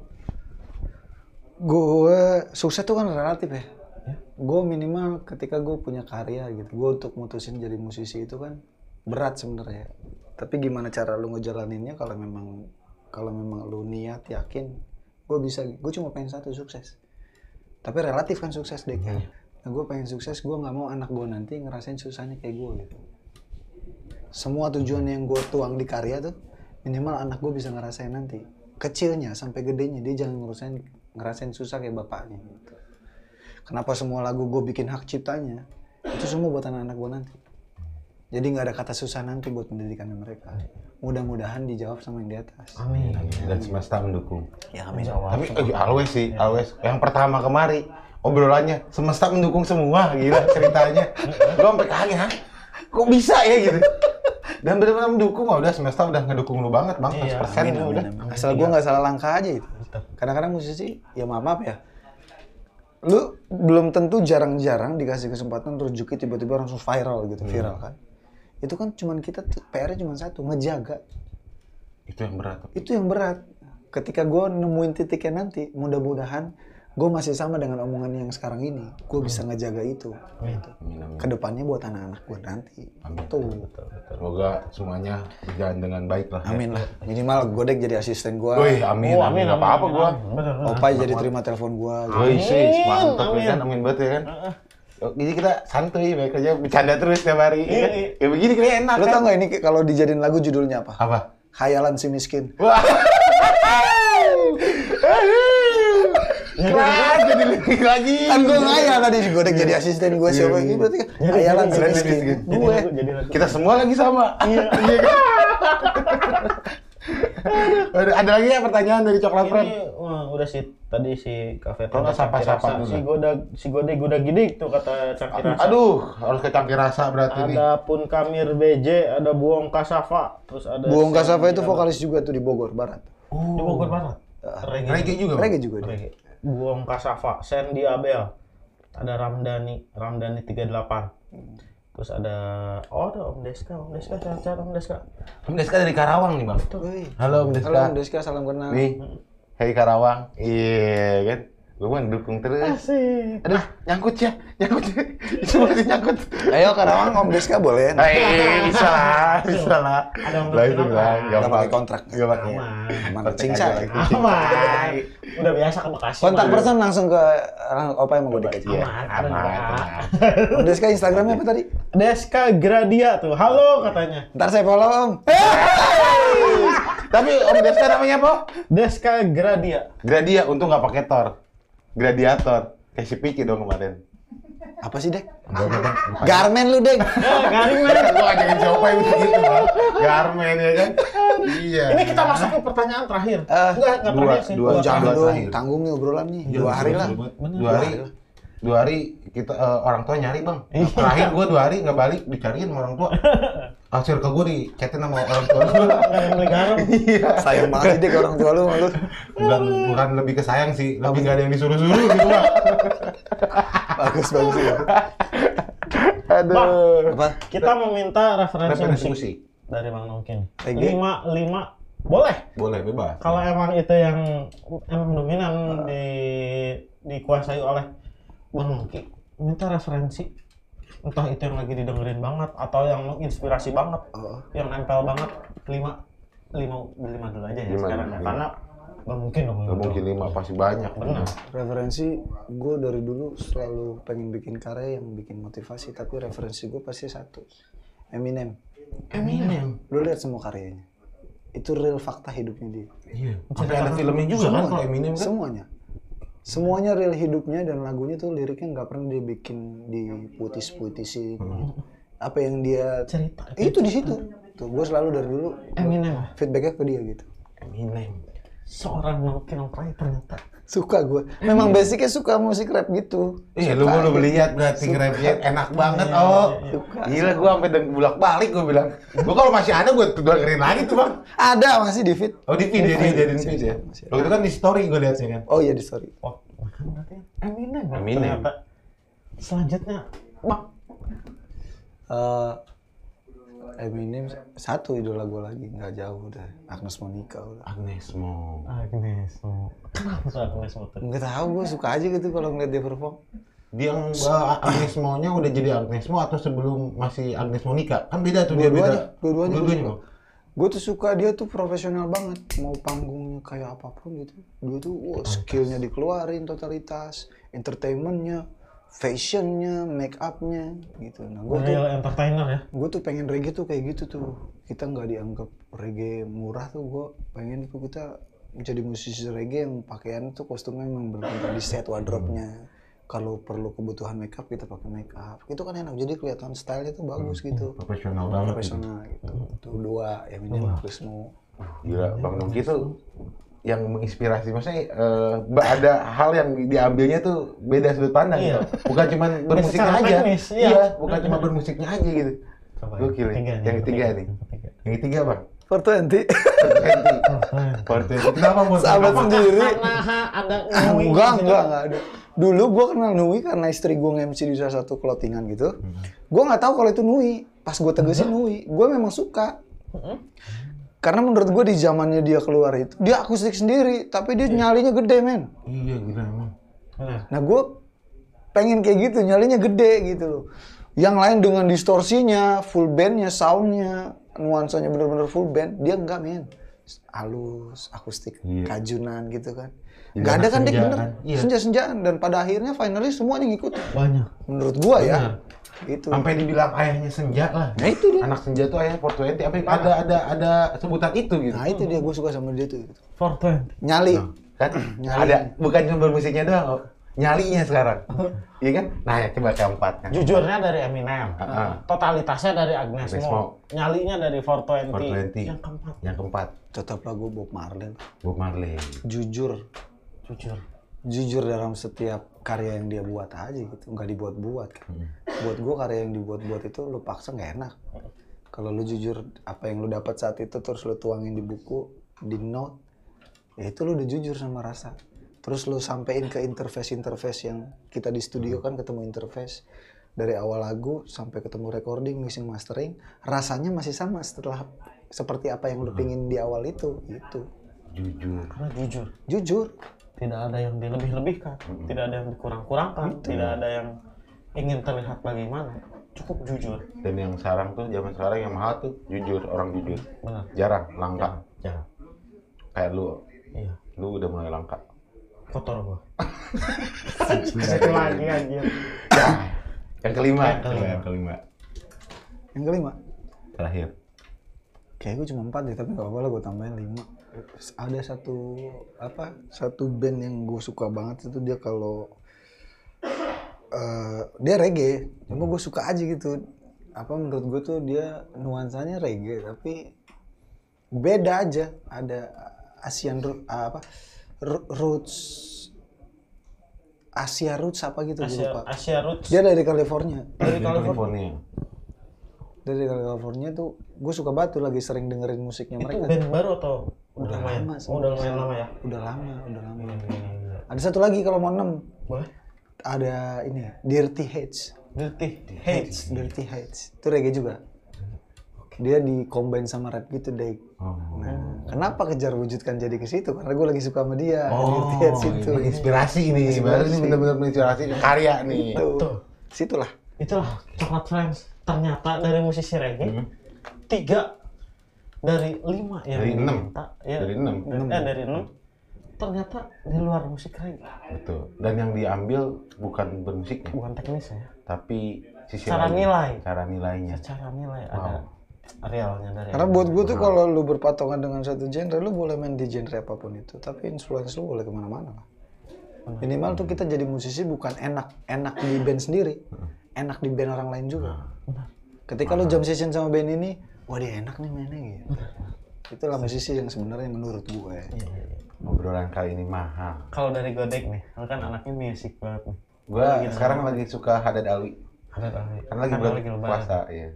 Gue sukses tuh kan relatif ya. Gue minimal ketika gue punya karya gitu, gue untuk mutusin jadi musisi itu kan berat sebenarnya. Tapi gimana cara lu ngejalaninnya kalau memang kalau memang lu niat yakin, gue bisa. Gue cuma pengen satu sukses. Tapi relatif kan sukses deh. Nah gue pengen sukses, gue nggak mau anak gue nanti ngerasain susahnya kayak gue gitu. Semua tujuan yang gue tuang di karya tuh minimal anak gue bisa ngerasain nanti. Kecilnya sampai gedenya dia jangan ngerasain ngerasain susah kayak bapaknya. Gitu. Kenapa semua lagu gue bikin hak ciptanya itu semua buat anak-anak gue nanti. Jadi nggak ada kata susah nanti buat pendidikan mereka. Mudah-mudahan dijawab sama yang di atas.
amin
Dan semesta mendukung.
Ya amin.
Tapi eh, always sih, always. Yang pertama kemari, obrolannya semesta mendukung semua, gila ceritanya. Gue sampai kaget, "Hah? Kok bisa ya gitu? Dan benar-benar mendukung, wah, udah semesta udah ngedukung lu banget bang, 100%
Iya,
udah, udah.
Kan Asal gue nggak salah langkah aja itu. Kadang-kadang musisi, ya maaf, maaf ya. Lu belum tentu jarang-jarang dikasih kesempatan terus Juki tiba-tiba langsung viral gitu, viral kan. Itu kan cuman kita tuh PR-nya cuma satu, ngejaga.
Itu yang berat.
Itu yang berat. Ketika gue nemuin titiknya nanti, mudah-mudahan gue masih sama dengan omongan yang sekarang ini. Gue bisa ngejaga itu. Gitu.
Amin, amin.
Kedepannya buat anak-anak gue nanti. Tuh.
Semoga semuanya berjalan dengan baik lah. ya.
Amin lah. Minimal Godek jadi asisten gue.
Wih, amin,
Oh,
amin, apa apa gua.
bener bener.
Opai jadi terima telepon gue.
Wih, sih,
amin.
mantap ya kan, amin banget ya kan. Jadi kita santuy, baik aja bercanda terus tiap hari. ya kan?
Iya.
Ya begini kayaknya enak
Lo
kan.
tau gak ini kalau dijadiin lagu judulnya apa?
Apa?
Khayalan si miskin.
Wah. Iya. Kelas jadi lebih lagi.
Kan gue ngayal tadi si Godek jadi asisten gue siapa ini berarti kan khayalan si
Iya. Khayalan si
miskin.
miskin.
Jadi
Gue.
lagu- jadi lagu.
Kita semua lagi sama. Iya. kan? Aduh, Ada lagi ya pertanyaan dari Coklat Friend?
ini wah, udah sih tadi si kafe
Kalau nggak sapa-sapa dulu.
si goda si goda goda gede tuh kata Cakira
Aduh, harus ke cangkir rasa berarti nih.
ada pun kamir BJ ada buong kasafa terus ada
Bohong
si-
Kasava itu vokalis juga tuh di Bogor Barat.
di Bogor Barat reggae,
Reggae juga. Bang?
Reggae juga dia.
Reggae. Buong Kasava, Sandy Abel, ada Ramdhani, Ramdhani 38. Terus ada oh ada Om Deska, Om Deska sehat sehat Om Deska.
Om Deska dari Karawang nih, Bang.
Wih.
Halo, Om Deska.
Halo Deska, salam kenal.
Nih, Hei Karawang. Iya, kan? Gue mah dukung terus.
Asik.
Aduh, nyangkut ya. Nyangkut. Itu masih nyangkut.
Ayo Karawang Om Deska boleh.
Eh, bisa lah, bisa lah.
Ada orang
Lah, itu
bilang,
lah,
"Ah,
nggak pakai kontrak."
Gak pakai.
Aman.
Aman,
Penting
cincai.
aja, penting.
Aman. Udah biasa ke Bekasi.
Kontak
mah.
person langsung ke eh, Opa yang mau Godek aja.
Iya,
Aman, ada
aman.
juga.
tenang.
Om Deska Instagramnya apa tadi?
Deska Gradia tuh. Halo katanya.
Ntar saya follow Om.
Tapi Om Deska namanya apa?
Deska Gradia.
Eh, Gradia, untung nggak pakai tor. Gladiator. Kayak si Piki dong kemarin.
apa sih dek?
Gua ngomong,
Garmen lu dek.
Garing men.
Gua ngajakin siapa yang gitu, Bang. Garmen ya kan? Iya.
Ini kita masuk ke pertanyaan terakhir.
Eh,
Enggak, enggak
dua-
terakhir sih.
dua
Oh, jangan
Dua
dong,
terakhir.
tanggung nih obrolan nih.
Iya,
Dua hari lah.
bener. Dua hari. Dua hari kita eh, orang tua nyari bang. Terakhir gue dua hari nggak balik dicariin sama orang tua. Hasil ke gue dicatin sama orang tua gue.
Enggak boleh garam.
Iya.
Sayang banget sih dek orang tua lu sama lu.
Bukan, bukan lebih ke sayang sih, lebih nggak ada yang disuruh-suruh gitu bang.
Bagus bagus ya.
Bang,
Apa?
kita meminta referensi,
Referensi
musik,
musik.
dari Bang Nongkin.
Lagi?
Lima, lima, boleh.
Boleh bebas.
Kalau emang itu yang emang dominan di dikuasai oleh Bang Nongkin, minta referensi entah itu yang lagi didengerin banget atau yang menginspirasi banget,
Oh.
yang nempel banget. Lima, lima, lima dulu aja ya
Lima,
sekarang ya.
lima.
Karena nggak mungkin dong. Ya,
Nggak mungkin lima, pasti banyak.
Benar.
Referensi gue dari dulu selalu pengen bikin karya yang bikin motivasi, tapi referensi gue pasti satu. Eminem.
Eminem.
Lu lihat semua karyanya. Itu real fakta hidupnya dia.
Iya. Sampai ada filmnya juga kan kalau Eminem kan.
Semuanya. Semuanya real hidupnya dan lagunya tuh liriknya nggak pernah dia bikin diputis-putisin. gitu.
Hmm.
Apa yang dia
Cerita.
itu di situ. Tuh gue selalu dari dulu
Eminem.
feedbacknya ke dia gitu.
Eminem.
Seorang Nongkin Oprai ternyata.
Suka gue. Memang basicnya suka musik rap gitu.
Iya, lu lu beli lihat berarti nge-rapnya enak banget, oh. Gila, gua sampai bulak balik gua bilang. Gua kalau masih ada gua dengerin lagi tuh bang.
Ada masih di feed.
Oh di video dia
Masih ada,
jadiin
masih
video.
ada,
ya?
masih ada.
Waktu itu kan di story gue liatnya kan.
Oh iya di story.
Oh, makan berarti Eminem. ya,
Eminem.
Ternyata. Selanjutnya, Bang.
Eh, Eminem satu idola gue lagi nggak jauh udah Agnes Monica udah
Agnes mau.
Agnes Mo. Kenapa tuh Agnes Mo tuh?
nggak tahu gue suka aja gitu kalau ngeliat dia perform
Dia yang bah, Agnes maunya udah jadi Agnes mau atau sebelum masih Agnes Monica? Kan beda tuh dia
Dua-duanya,
beda.
dua-duanya gua
Dua-duanya.
suka.
Bang.
gue tuh suka dia tuh profesional banget mau panggungnya kayak apapun gitu dia tuh wah skillnya dikeluarin totalitas entertainmentnya fashionnya make upnya gitu nah gue tuh
Real entertainer ya.
gue tuh pengen reggae tuh kayak gitu tuh kita nggak dianggap reggae murah tuh gue pengen tuh kita jadi musisi reggae yang pakaian tuh kostumnya memang benar di set wardrobe-nya kalau perlu kebutuhan makeup kita pakai makeup itu kan enak jadi kelihatan stylenya tuh bagus gitu
Profesional banget. gitu.
profesional gitu tuh dua yang ini bagus mau
Gila, Bang Nongki tuh yang menginspirasi maksudnya eh, ba- ada hal yang diambilnya tuh beda sudut pandang
Iya.
gitu. bukan cuman bermusiknya
secara
aja
teknis, iya.
iya bukan cuma bermusiknya aja gitu
Coba
Gokil
ketiga nih,
ya. Yang ketiga nih.
yang ketiga.
yang ketiga bang
Pertenti
Eh,
Partai kenapa bang
sahabat sendiri
Karena ha, ada Nui
enggak
di situ.
enggak enggak ada dulu gue kenal Nui karena istri gue nge-MC di salah satu clothingan gitu gue nggak tahu kalau itu Nui pas gue tegesin Nui gue memang suka karena menurut gue di zamannya dia keluar itu dia akustik sendiri tapi dia nyalinya gede men
iya gila emang
Benar.
nah gue pengen kayak gitu nyalinya gede gitu loh yang lain dengan distorsinya full bandnya soundnya nuansanya bener-bener full band dia enggak men halus akustik
Iya.
kajunan gitu kan
Jadi
Gak ada
anak
kan Dik
senjaan.
bener
Iya.
senja-senjaan dan pada akhirnya finally semuanya ngikut
Banyak.
menurut gua ya itu
sampai dibilang ayahnya senja lah
nah itu dia
anak senja tuh ayah Fortuenti apa ada ada ada sebutan itu gitu
nah itu dia gua suka sama dia tuh gitu.
420.
nyali
kan
Nyali.
ada bukan cuma bermusiknya doang kok. nyalinya sekarang iya kan nah ya coba keempat kan Ah,
Jujurnya dari Eminem.
Heeh.
Totalitasnya dari Agnes
Agnes Mo.
Mo. Nyalinya dari 420.
420.
Yang keempat.
yang keempat
tetaplah gua Bob Marley
Bob Marley
jujur
Jujur.
jujur dalam setiap karya yang dia buat aja gitu nggak dibuat-buat kan buat gua karya yang dibuat-buat itu lu paksa nggak enak kalau lu jujur apa yang lu dapat saat itu terus lu tuangin di buku di note ya itu lu udah jujur sama rasa terus lu sampein ke interface interface yang kita di studio kan ketemu interface dari awal lagu sampai ketemu recording mixing mastering rasanya masih sama setelah seperti apa yang lu pingin di awal itu itu
jujur
Karena jujur.
jujur
tidak ada yang dilebih-lebihkan, tidak ada yang dikurang-kurangkan, tidak ada yang ingin terlihat bagaimana. Cukup jujur.
dan yang sekarang tuh zaman sekarang yang mahal tuh jujur orang jujur
Benar.
jarang langka
Jangan.
kayak lu
Iya.
lu udah mulai langka
Kotor gua. Itu lagi anjir.
yang kelima
Yang kelima.
Coba yang kelima
yang kelima
terakhir
kayak gue cuma empat deh tapi gak apa-apa lah gue tambahin lima ada satu apa satu band yang gue suka banget itu dia kalau eh, dia reggae cuma gue suka aja gitu apa menurut gue tuh dia nuansanya reggae tapi beda aja ada Asian ru- apa ru- roots Asia roots apa gitu gue
Asia,
lupa
Iya, Asia Roots
dia dari California
dari California.
California.
dari California tuh gue suka banget tuh lagi sering dengerin musiknya
Itu
mereka
band baru atau udah lumayan?
lama sih.
Oh, udah lumayan lama ya.
udah lama udah lama ada satu lagi kalau mau enam
Boleh.
ada ini ya, Dirty Heads
Dirty Hates.
Dirty Heights itu reggae juga dia di combine sama rap gitu deh
Oh.
nah kenapa kejar wujudkan jadi ke situ karena gue lagi suka sama dia Dirty
Oh,
Heights itu
ini inspirasi nih. Baru ini benar-benar menginspirasi karya nih.
Tuh. situlah
Itulah Coklat Friends. Ternyata dari musisi reggae tiga dari lima yang
Dari enam.
diminta, ya,
Dari enam.
eh dari enam ternyata di luar musik reggae
Betul. Dan yang diambil bukan bermusiknya,
bukan ya, teknisnya
tapi sisi
Cara
lain.
nilai.
Cara nilainya.
cara nilai ada realnya dari
karena buat gue tuh kalau lu berpatongan dengan satu genre lu boleh main di genre apapun itu tapi influence lu boleh kemana-mana lah minimal tuh kita jadi musisi bukan enak enak di band sendiri enak di band orang lain juga ketika lu jam session sama band ini wah dia enak nih mainnya gitu itulah musisi yang sebenarnya menurut ya. gue
Iya.
Obrolan kali ini mahal.
kalau dari Godek nih lu kan anaknya music banget nih
Gua sekarang lagi suka Hadad Alwi.
ada lagi
Kan lagi bulan puasa, iya.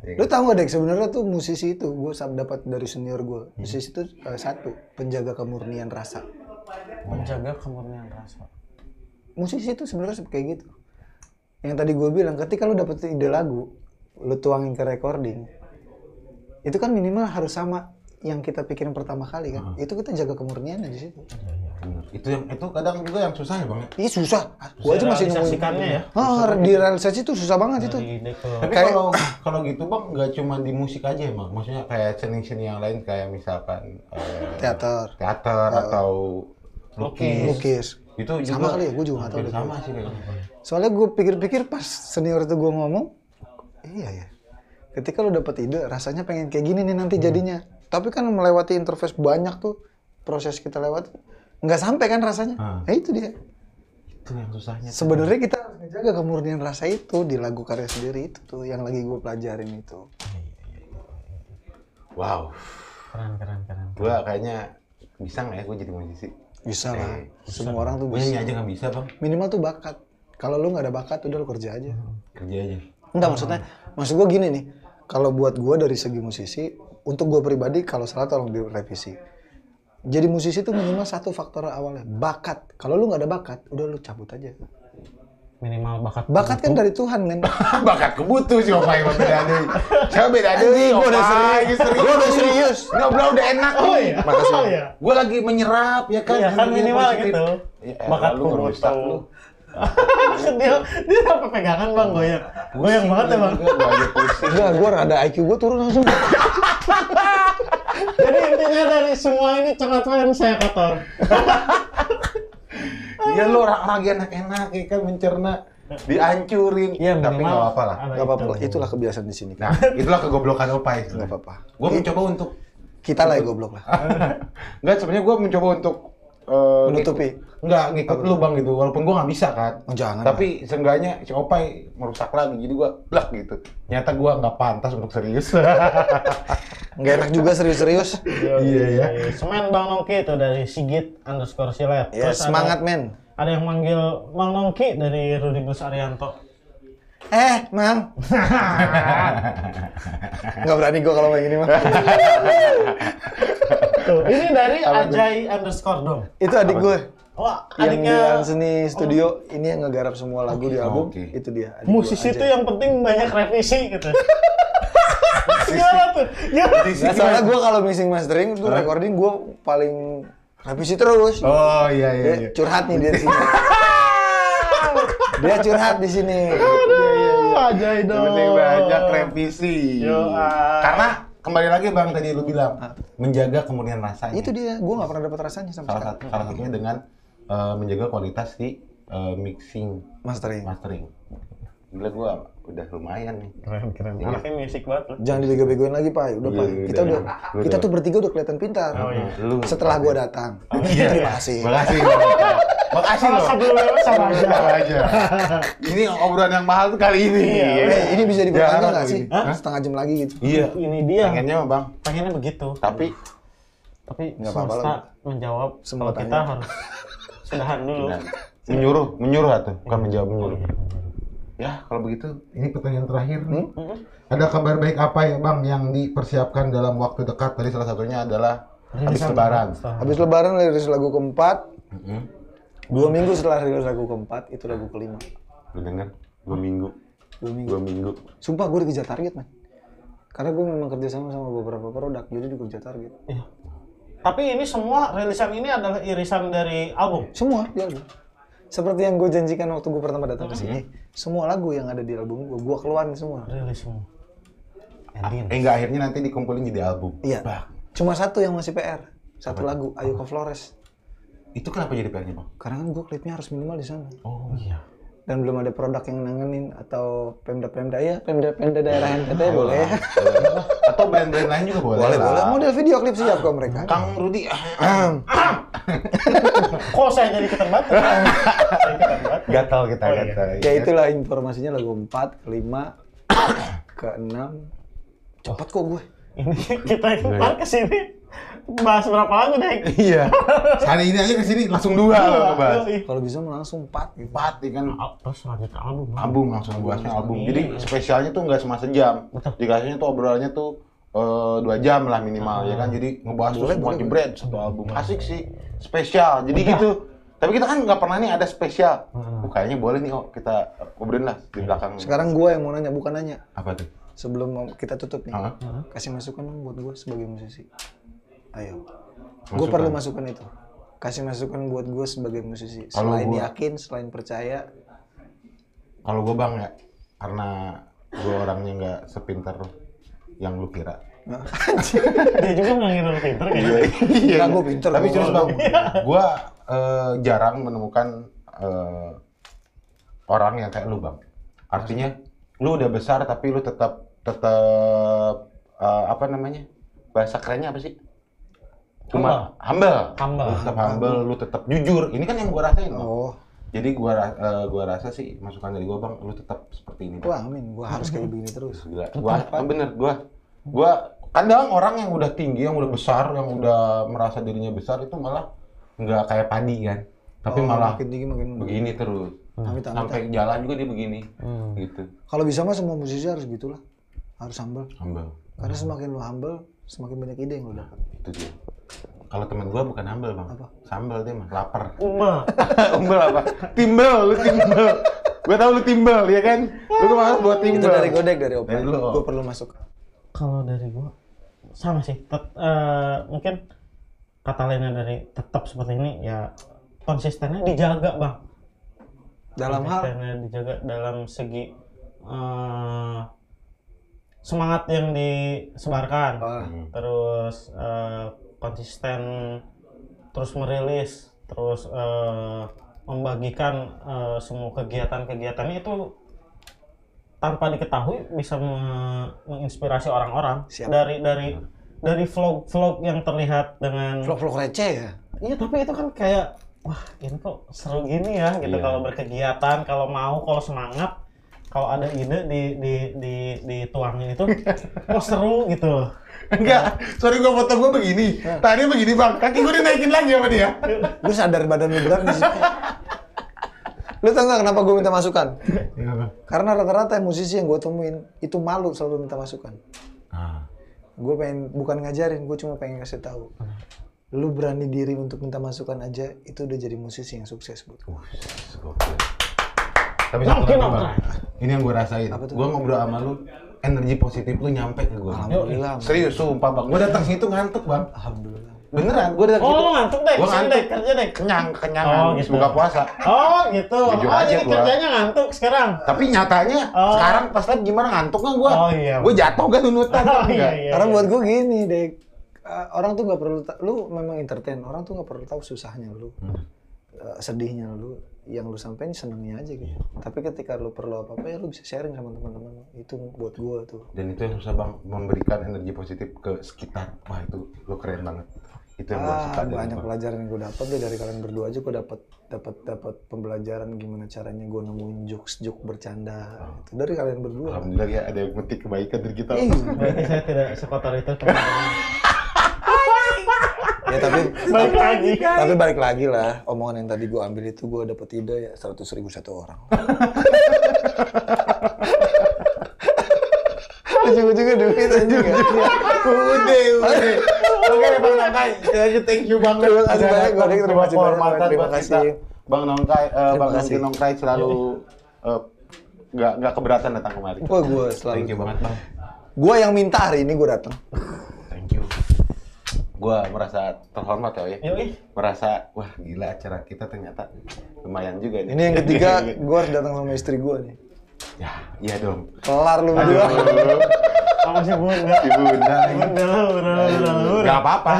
Iya
Lu tahu gak Dek, sebenarnya tuh musisi itu gue dapat dari senior gue. Musisi itu eh, satu, penjaga kemurnian rasa.
menjaga kemurnian rasa
Musisi itu sebenarnya sep- kayak gitu. Yang tadi gue bilang, ketika lu dapet ide lagu, lu tuangin ke recording, itu kan minimal harus sama yang kita pikirin pertama kali kan. Itu kita jaga kemurniannya di situ.
Iya, Bener. Itu yang itu kadang juga yang susah ya bang. ya?
Ih susah. Gue aja masih nemuin.
Realisasikannya ya
Ah, di realisasi itu susah banget itu.
dari Dek ke-
Tapi
Kayak-
kalau kalau gitu bang nggak cuma di musik aja emang. Maksudnya kayak seni-seni yang lain kayak misalkan eh,
Teater,
teater atau lukis.
lukis.
Itu juga
Iya. Sama kali ya, gua juga nggak tahu deh.
hampir Sama sih kayaknya.
Soalnya gue pikir-pikir pas senior itu gue ngomong, iya ya. Ketika lu dapet ide, rasanya pengen kayak gini nih nanti jadinya. Tapi kan melewati interface banyak tuh proses kita lewat, nggak sampai kan rasanya.
Hmm.
Nah itu dia.
Itu yang susahnya.
Sebenarnya kita harus menjaga kemurnian rasa itu di lagu karya sendiri itu tuh yang lagi gue pelajarin itu.
Wow.
keren keren keren
Gua kayaknya bisa nggak ya gue jadi musisi?
Bisa lah. Semua orang tuh
Gue
bisa.
nyanyi aja nggak bisa bang.
Minimal tuh bakat. Kalau lu nggak ada bakat, udah lu kerja aja.
Kerja aja.
Enggak maksudnya, maksud gue gini nih, kalau buat gue dari segi musisi, untuk gue pribadi kalau salah tolong direvisi. Jadi musisi itu minimal satu faktor awalnya, bakat. Kalau lu nggak ada bakat, udah lu cabut aja.
minimal bakat
Bakat kan dari Tuhan men.
Bakat kebutuh sih Opai sama beda deh. Coba beda deh.
Gua udah serius.
Gue
Gua udah serius.
Ngobrol udah enak. Oh iya. Makasih.
Oh, iya.
Gue lagi menyerap ya kan.
Iya, kan
energi
minimal
positif.
gitu.
Ya, elah,
Bakat
lu ngerusak
kubutuh.
lu.
dia dia sampai pegangan bang goyang goyang banget ya bang
Gue aja pusing.
Enggak, gue ada IQ gue turun langsung.
jadi intinya dari semua ini coklat friends saya kotor
Ya lu orang lagi enak-enak ya kan mencerna. Dihancurin.
Iya,
Tapi
minimal
nggak apa-apa lah.
ada Iya,
Gak apa-apa, lah,
itu.
itulah kebiasaan di sini.
Nah, itulah kegoblokan Opai.
Gak apa-apa.
Gue mencoba untuk
Kita lah yang goblok lah.
Enggak, sebenarnya gue mencoba untuk eh,
Menutupi.
ngikut- Enggak, ngikut lu bang gitu. Walaupun gue nggak bisa kan.
Oh, jangan,
Tapi seenggaknya si Opai merusak lagi. Jadi gue blak gitu. Nyata gue nggak pantas untuk serius.
Nggak enak juga serius-serius.
Iya ya.
semen bang Nongki itu dari Sigit underscore Silet
Iya,
Ya
Terus ada-
semangat men.
ada yang manggil Mang Nongki dari Rudi Bus Arianto
Eh, Mang. Nggak berani gue kalau kayak gini mah.
Tuh, ini dari Ajay underscore dong
Itu adik gue.
wah
yang di
adiknya Oh.
seni studio ini yang ngegarap semua lagu di album
Oke.
itu dia adik
musisi itu yang penting banyak revisi gitu gimana tuh gimana
Nah,
Di sini-
soalnya gue kalau mixing mastering tuh recording gue paling revisi terus
Oh iya iya.
dia
iya.
curhat nih dia di sini dia curhat di sini
Ajay
Yang
dong
penting banyak revisi.
Yo, ah.
Karena kembali lagi bang tadi lu bilang menjaga kemudian rasanya.
itu dia gue nggak pernah dapat rasanya sama
salah
sekali
satu salah satunya dengan eh, menjaga kualitas di eh, mixing
mastering
mastering. Gila gue udah lumayan nih.
keren keren
Iya.
anaknya musik banget loh
jangan dibego-begoin lagi pak udah
Iya,
pak
iya,
kita
udah.
udah
Udah.
kita tuh bertiga udah kelihatan pintar
Oh, iya. Lu-
setelah gue datang
Iya,
terima kasih
Terima kasih. Makasih
Kalau
loh.
sebelum lewat sama aja.
Sama aja. Iya. Ini obrolan yang mahal tuh kali ini.
Eh, ini bisa diperpanjang
Jarang
nggak
loh
sih?
ini.
Hah? Setengah jam lagi gitu.
Iya.
Ini dia.
Pengennya mah bang.
Pengennya begitu.
Tapi
Tapi
Nggak apa-apa
semesta menjawab
Semua
kalau kita
tanya.
harus sudahan dulu.
nah, menyuruh, menyuruh atau bukan menjawab menyuruh. Ya kalau begitu ini pertanyaan terakhir nih. Ada kabar baik apa ya bang yang dipersiapkan dalam waktu dekat? Tadi salah satunya adalah habis lebaran.
Habis lebaran rilis lagu keempat. Dua minggu setelah rilis lagu keempat, itu lagu kelima.
Lu denger? Dua minggu.
Dua minggu.
Dua minggu.
Sumpah gue dikejar target, man. Karena gue memang kerja sama sama beberapa produk, jadi dikejar target.
Iya. Tapi ini semua rilisan ini adalah irisan dari album.
Semua di album. Seperti yang gue janjikan waktu gue pertama datang ke sini, semua lagu yang ada di album gue, gue keluarin semua.
Rilis semua.
Eh enggak akhirnya nanti dikumpulin jadi album.
Iya.
Bah,
Cuma satu yang masih PR. Satu lagu, Ayo ke Flores.
itu kenapa jadi PR-nya bang?
Karena kan gue klipnya harus minimal di sana.
Oh iya.
Dan belum ada produk yang nanganin atau pemda-pemda ya, pemda-pemda daerah NTT boleh.
Atau brand-brand lain juga boleh.
Boleh,
lah.
boleh. Model video klip siap kok mereka.
Kang Rudi. Ah.
Kok saya jadi keterbatas? Saya keterbatas.
Gatal kita gatal.
Ya itulah informasinya lagu 4, kelima, keenam. Cepat kok gue.
Ini kita kemarin kesini bahas berapa lagu, Dek?
Iya. Hari ini aja kesini langsung
Iya,
dua loh ngebahas.
Yoi.
Kalau bisa mah langsung 4 gitu.
Empat ya kan
Al- Ah, Terus lanjut ke album. Ah, Bang.
album langsung bahasnya album. Jadi spesialnya tuh nggak cuma sejam. Dikasihnya tuh obrolannya tuh eh, dua jam lah minimal ya kan. Jadi ngebahas tuh semua jebret iya. satu album. Asik sih spesial. Jadi gitu. Tapi kita kan nggak pernah nih ada spesial. Oh, kayaknya boleh nih oh kita obrolin lah di belakang.
Sekarang gue yang mau nanya, bukan nanya.
apa tuh?
Sebelum mau- kita tutup nih,
Hah?
kasih masukan dong buat gue sebagai musisi. Ayo. Gue perlu masukan itu. Kasih masukan buat gue sebagai musisi.
Kalau
Selain
gua-
yakin, selain percaya.
Kalau gue bang ya karena gue orangnya nggak sepinter yang lu kira.
Dia juga nggak ya? ngira lu pinter kayaknya.
Iya.
Nggak, gua pinter,
Tapi
gua
serius
ngomong.
bang, gue jarang menemukan eh, orang yang kayak lu bang. Artinya lu udah besar tapi lu tetap tetap eh, apa namanya? Bahasa kerennya apa sih? Cuma humble.
Humble.
Lu tetap humble, lu tetap jujur. Ini kan yang gua rasain. Bang.
Oh,
Jadi gua ra- eh, gua rasa sih masukan dari gua bang, lu tetap seperti ini. Bang.
wah amin. Gue harus kayak begini terus.
Gila, gua ah, bener gua gua kadang Kan orang yang udah tinggi, yang udah besar, yang udah merasa dirinya besar itu malah nggak kayak padi kan. Tapi
Oh,
malah
makin tinggi makin
begini terus.
Amit, amit,
Sampai jalan juga dia begini.
Hmm.
Gitu.
Kalau bisa mah semua musisi harus gitulah. Harus humble.
Humble.
Karena semakin lu humble, semakin banyak ide yang lu dapat.
Itu dia. Kalau teman gua bukan humble, Bang.
Apa?
Sambel dia mah lapar.
Umba.
Humble apa? Timbel, lu timbel. gua tahu lu timbel, ya kan? Lu kemarin buat timbel.
Itu dari godek dari Opa.
Dari lu.
Gue perlu masuk.
Kalau dari gua sama sih. Tet- eh, mungkin kata lainnya dari tetap seperti ini ya konsistennya dijaga bang.
Dalam hal
konsistennya dijaga dalam segi eh, semangat yang disebarkan,
Ah.
terus eh, konsisten terus merilis, terus eh, membagikan eh, semua kegiatan-kegiatannya itu tanpa diketahui bisa me- menginspirasi orang-orang
Siap.
dari dari dari vlog-vlog yang terlihat dengan
vlog-vlog receh ya.
Iya tapi itu kan kayak wah ini kok seru gini ya gitu
Iya.
kalau berkegiatan kalau mau kalau semangat kalau ada ide di di di dituangin itu wah seru gitu loh.
Enggak, sorry gua foto gua begini. Tadi begini, Bang. Kaki gua dinaikin lagi sama dia.
Gue sadar badan lu berat di situ. Lu tau gak kenapa gue minta masukan?
Iya, Bang.
Karena rata-rata musisi yang gue temuin itu malu selalu minta masukan.
Ah.
Gue pengen bukan ngajarin, gue cuma pengen kasih tahu. Lu berani diri untuk minta masukan aja, itu udah jadi musisi yang sukses buat gue.
Gokil. Tapi
Bang,
satu lagi
kenapa?
bang, ini yang gue rasain.
Apa tuh?
Gue ngobrol sama lu, energi positif lu nyampe ke gue.
Alhamdulillah.
Serius, sumpah bang. Gue datang situ ngantuk bang.
Alhamdulillah.
Beneran, gue datang
Oh
situ.
lu ngantuk deh,
Gitu. Gua
sini
ngantuk.
deh kerja deh.
Kenyang, kenyang.
Oh,
habis
gitu.
buka puasa.
Oh gitu.
Jujur
oh
aja
jadi
gua.
kerjanya ngantuk sekarang.
Tapi nyatanya
Oh.
sekarang pas live gimana ngantuk nggak gue?
Oh, iya.
Gue jatuh kan nunutan.
Oh, iya,
Nggak.
iya,
Karena
iya.
buat gue gini, dek. Eh, orang tuh nggak perlu, ta- lu memang entertain. Orang tuh nggak perlu tahu susahnya lu,
Hmm.
Eh, sedihnya lu, yang lu sampein senangnya aja
Iya.
gitu. Tapi ketika lu perlu apa apa ya lu bisa sharing sama teman-teman. lu. Itu buat gue tuh.
Dan itu yang susah bang, memberikan energi positif ke sekitar. Wah itu lu keren banget. Itu yang gua suka
Ah,
dari
banyak
Bang.
pelajaran yang gue dapat deh dari kalian berdua aja gue dapat dapat dapat pembelajaran gimana caranya gue nemuin jokes jokes bercanda
Ah.
itu dari kalian berdua.
Alhamdulillah ya ada yang metik kebaikan dari kita.
Berarti saya tidak sekotor itu.
ya tapi
Baik lagi.
tapi balik lagi lah omongan yang tadi gue ambil itu gue dapat ide ya seratus ribu satu orang. Ujung-ujungnya duit aja
Udah, udah.
kan
Oke, Bang Nangkai. Sekali lagi thank you banget.
Terima kasih banyak, Bang Dik. Terima kasih banyak,
Kehormatan
Bang. Terima
buat
kasih.
kita. Bang Nangkai, eh,
Terima
Bang
kasih.
Nangki Nongkai selalu eh, nggak nggak keberatan datang kemari.
Wah gue
Thank you
selalu
banget, Bang.
gue yang minta hari ini gue datang.
Thank you. Gua merasa terhormat ya, ya.
Yoi.
Merasa wah gila acara kita ternyata lumayan juga nih.
Ini yang ketiga gue harus datang sama istri gue nih.
ya, iya dong.
Kelar lu berdua.
Apa sih bunda?
Ibu Bunda.
Bunda lur, lur, lur.
Gak apa-apa.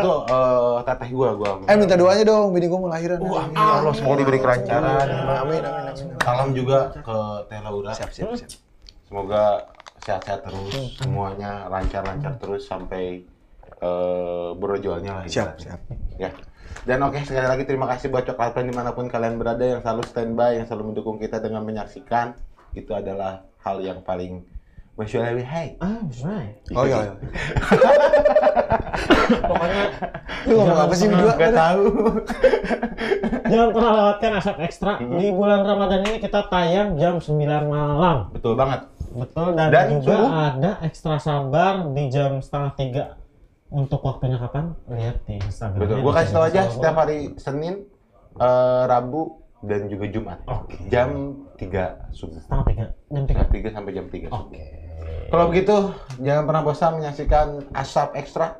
Itu eh, teteh gua gua.
Eh minta doanya dong, bini gue mau lahiran.
Uh, amin ya Allah, semoga diberi kelancaran.
Amin, amin, amin.
Salam juga ke Teh Laura.
Siap, siap, siap.
Semoga sehat-sehat terus, semuanya lancar-lancar terus sampai eh berjualnya lah.
Siap,
ibaratnya.
siap.
Ya. Dan oke sekali lagi terima kasih buat Coklat Plan dimanapun kalian berada yang selalu standby, yang selalu mendukung kita dengan menyaksikan itu adalah hal yang paling masyarakat. Hey,
Ah, right.
Oh iya, iya.
Pokoknya
Lu ngomong apa sih berdua?
Gak tahu.
jangan pernah lewatkan asap ekstra. Di bulan Ramadan ini kita tayang jam 9 malam.
Betul banget.
Betul dan,
Dan
juga
suruh-
ada ekstra sabar di jam setengah tiga. Untuk waktunya kapan? Lihat di Instagram.
Betul. Gua kasih tahu aja setiap hari Senin, eh, Rabu dan juga Jumat.
Oh.
Oke.
Jam 3 subuh.
setengah tiga, jam tiga.
Jam 3 sampai jam 3
Oh.
subuh.
Oke.
Kalau begitu, jangan pernah bosan menyaksikan asap ekstra.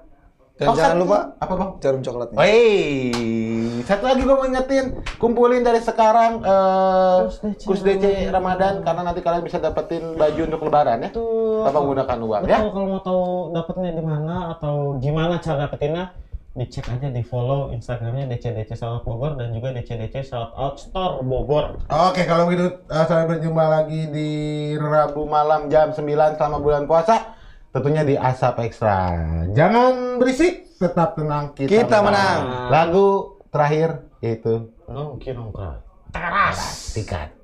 Dan jangan lupa
apa bang?
jarum coklatnya.
Wey, satu lagi gue mau ingetin, kumpulin dari sekarang eh
Kus DC
kus DC Ramadan karena nanti kalian bisa dapetin baju untuk Lebaran ya,
Betul.
tanpa menggunakan uang ya.
Betul, kalau mau tahu dapetnya di mana atau gimana cara dapetinnya, dicek aja di follow Instagramnya DCDC Shoutout Bogor dan juga DCDC Shoutout Store Bogor.
Oke, kalau begitu eh, sampai berjumpa lagi di Rabu malam jam 9 selama bulan puasa, tentunya di Asap Ekstra. Jangan berisik, tetap tenang kita,
Kita menang.
Lagu terakhir yaitu
Nongki nongkrong.
Tikat.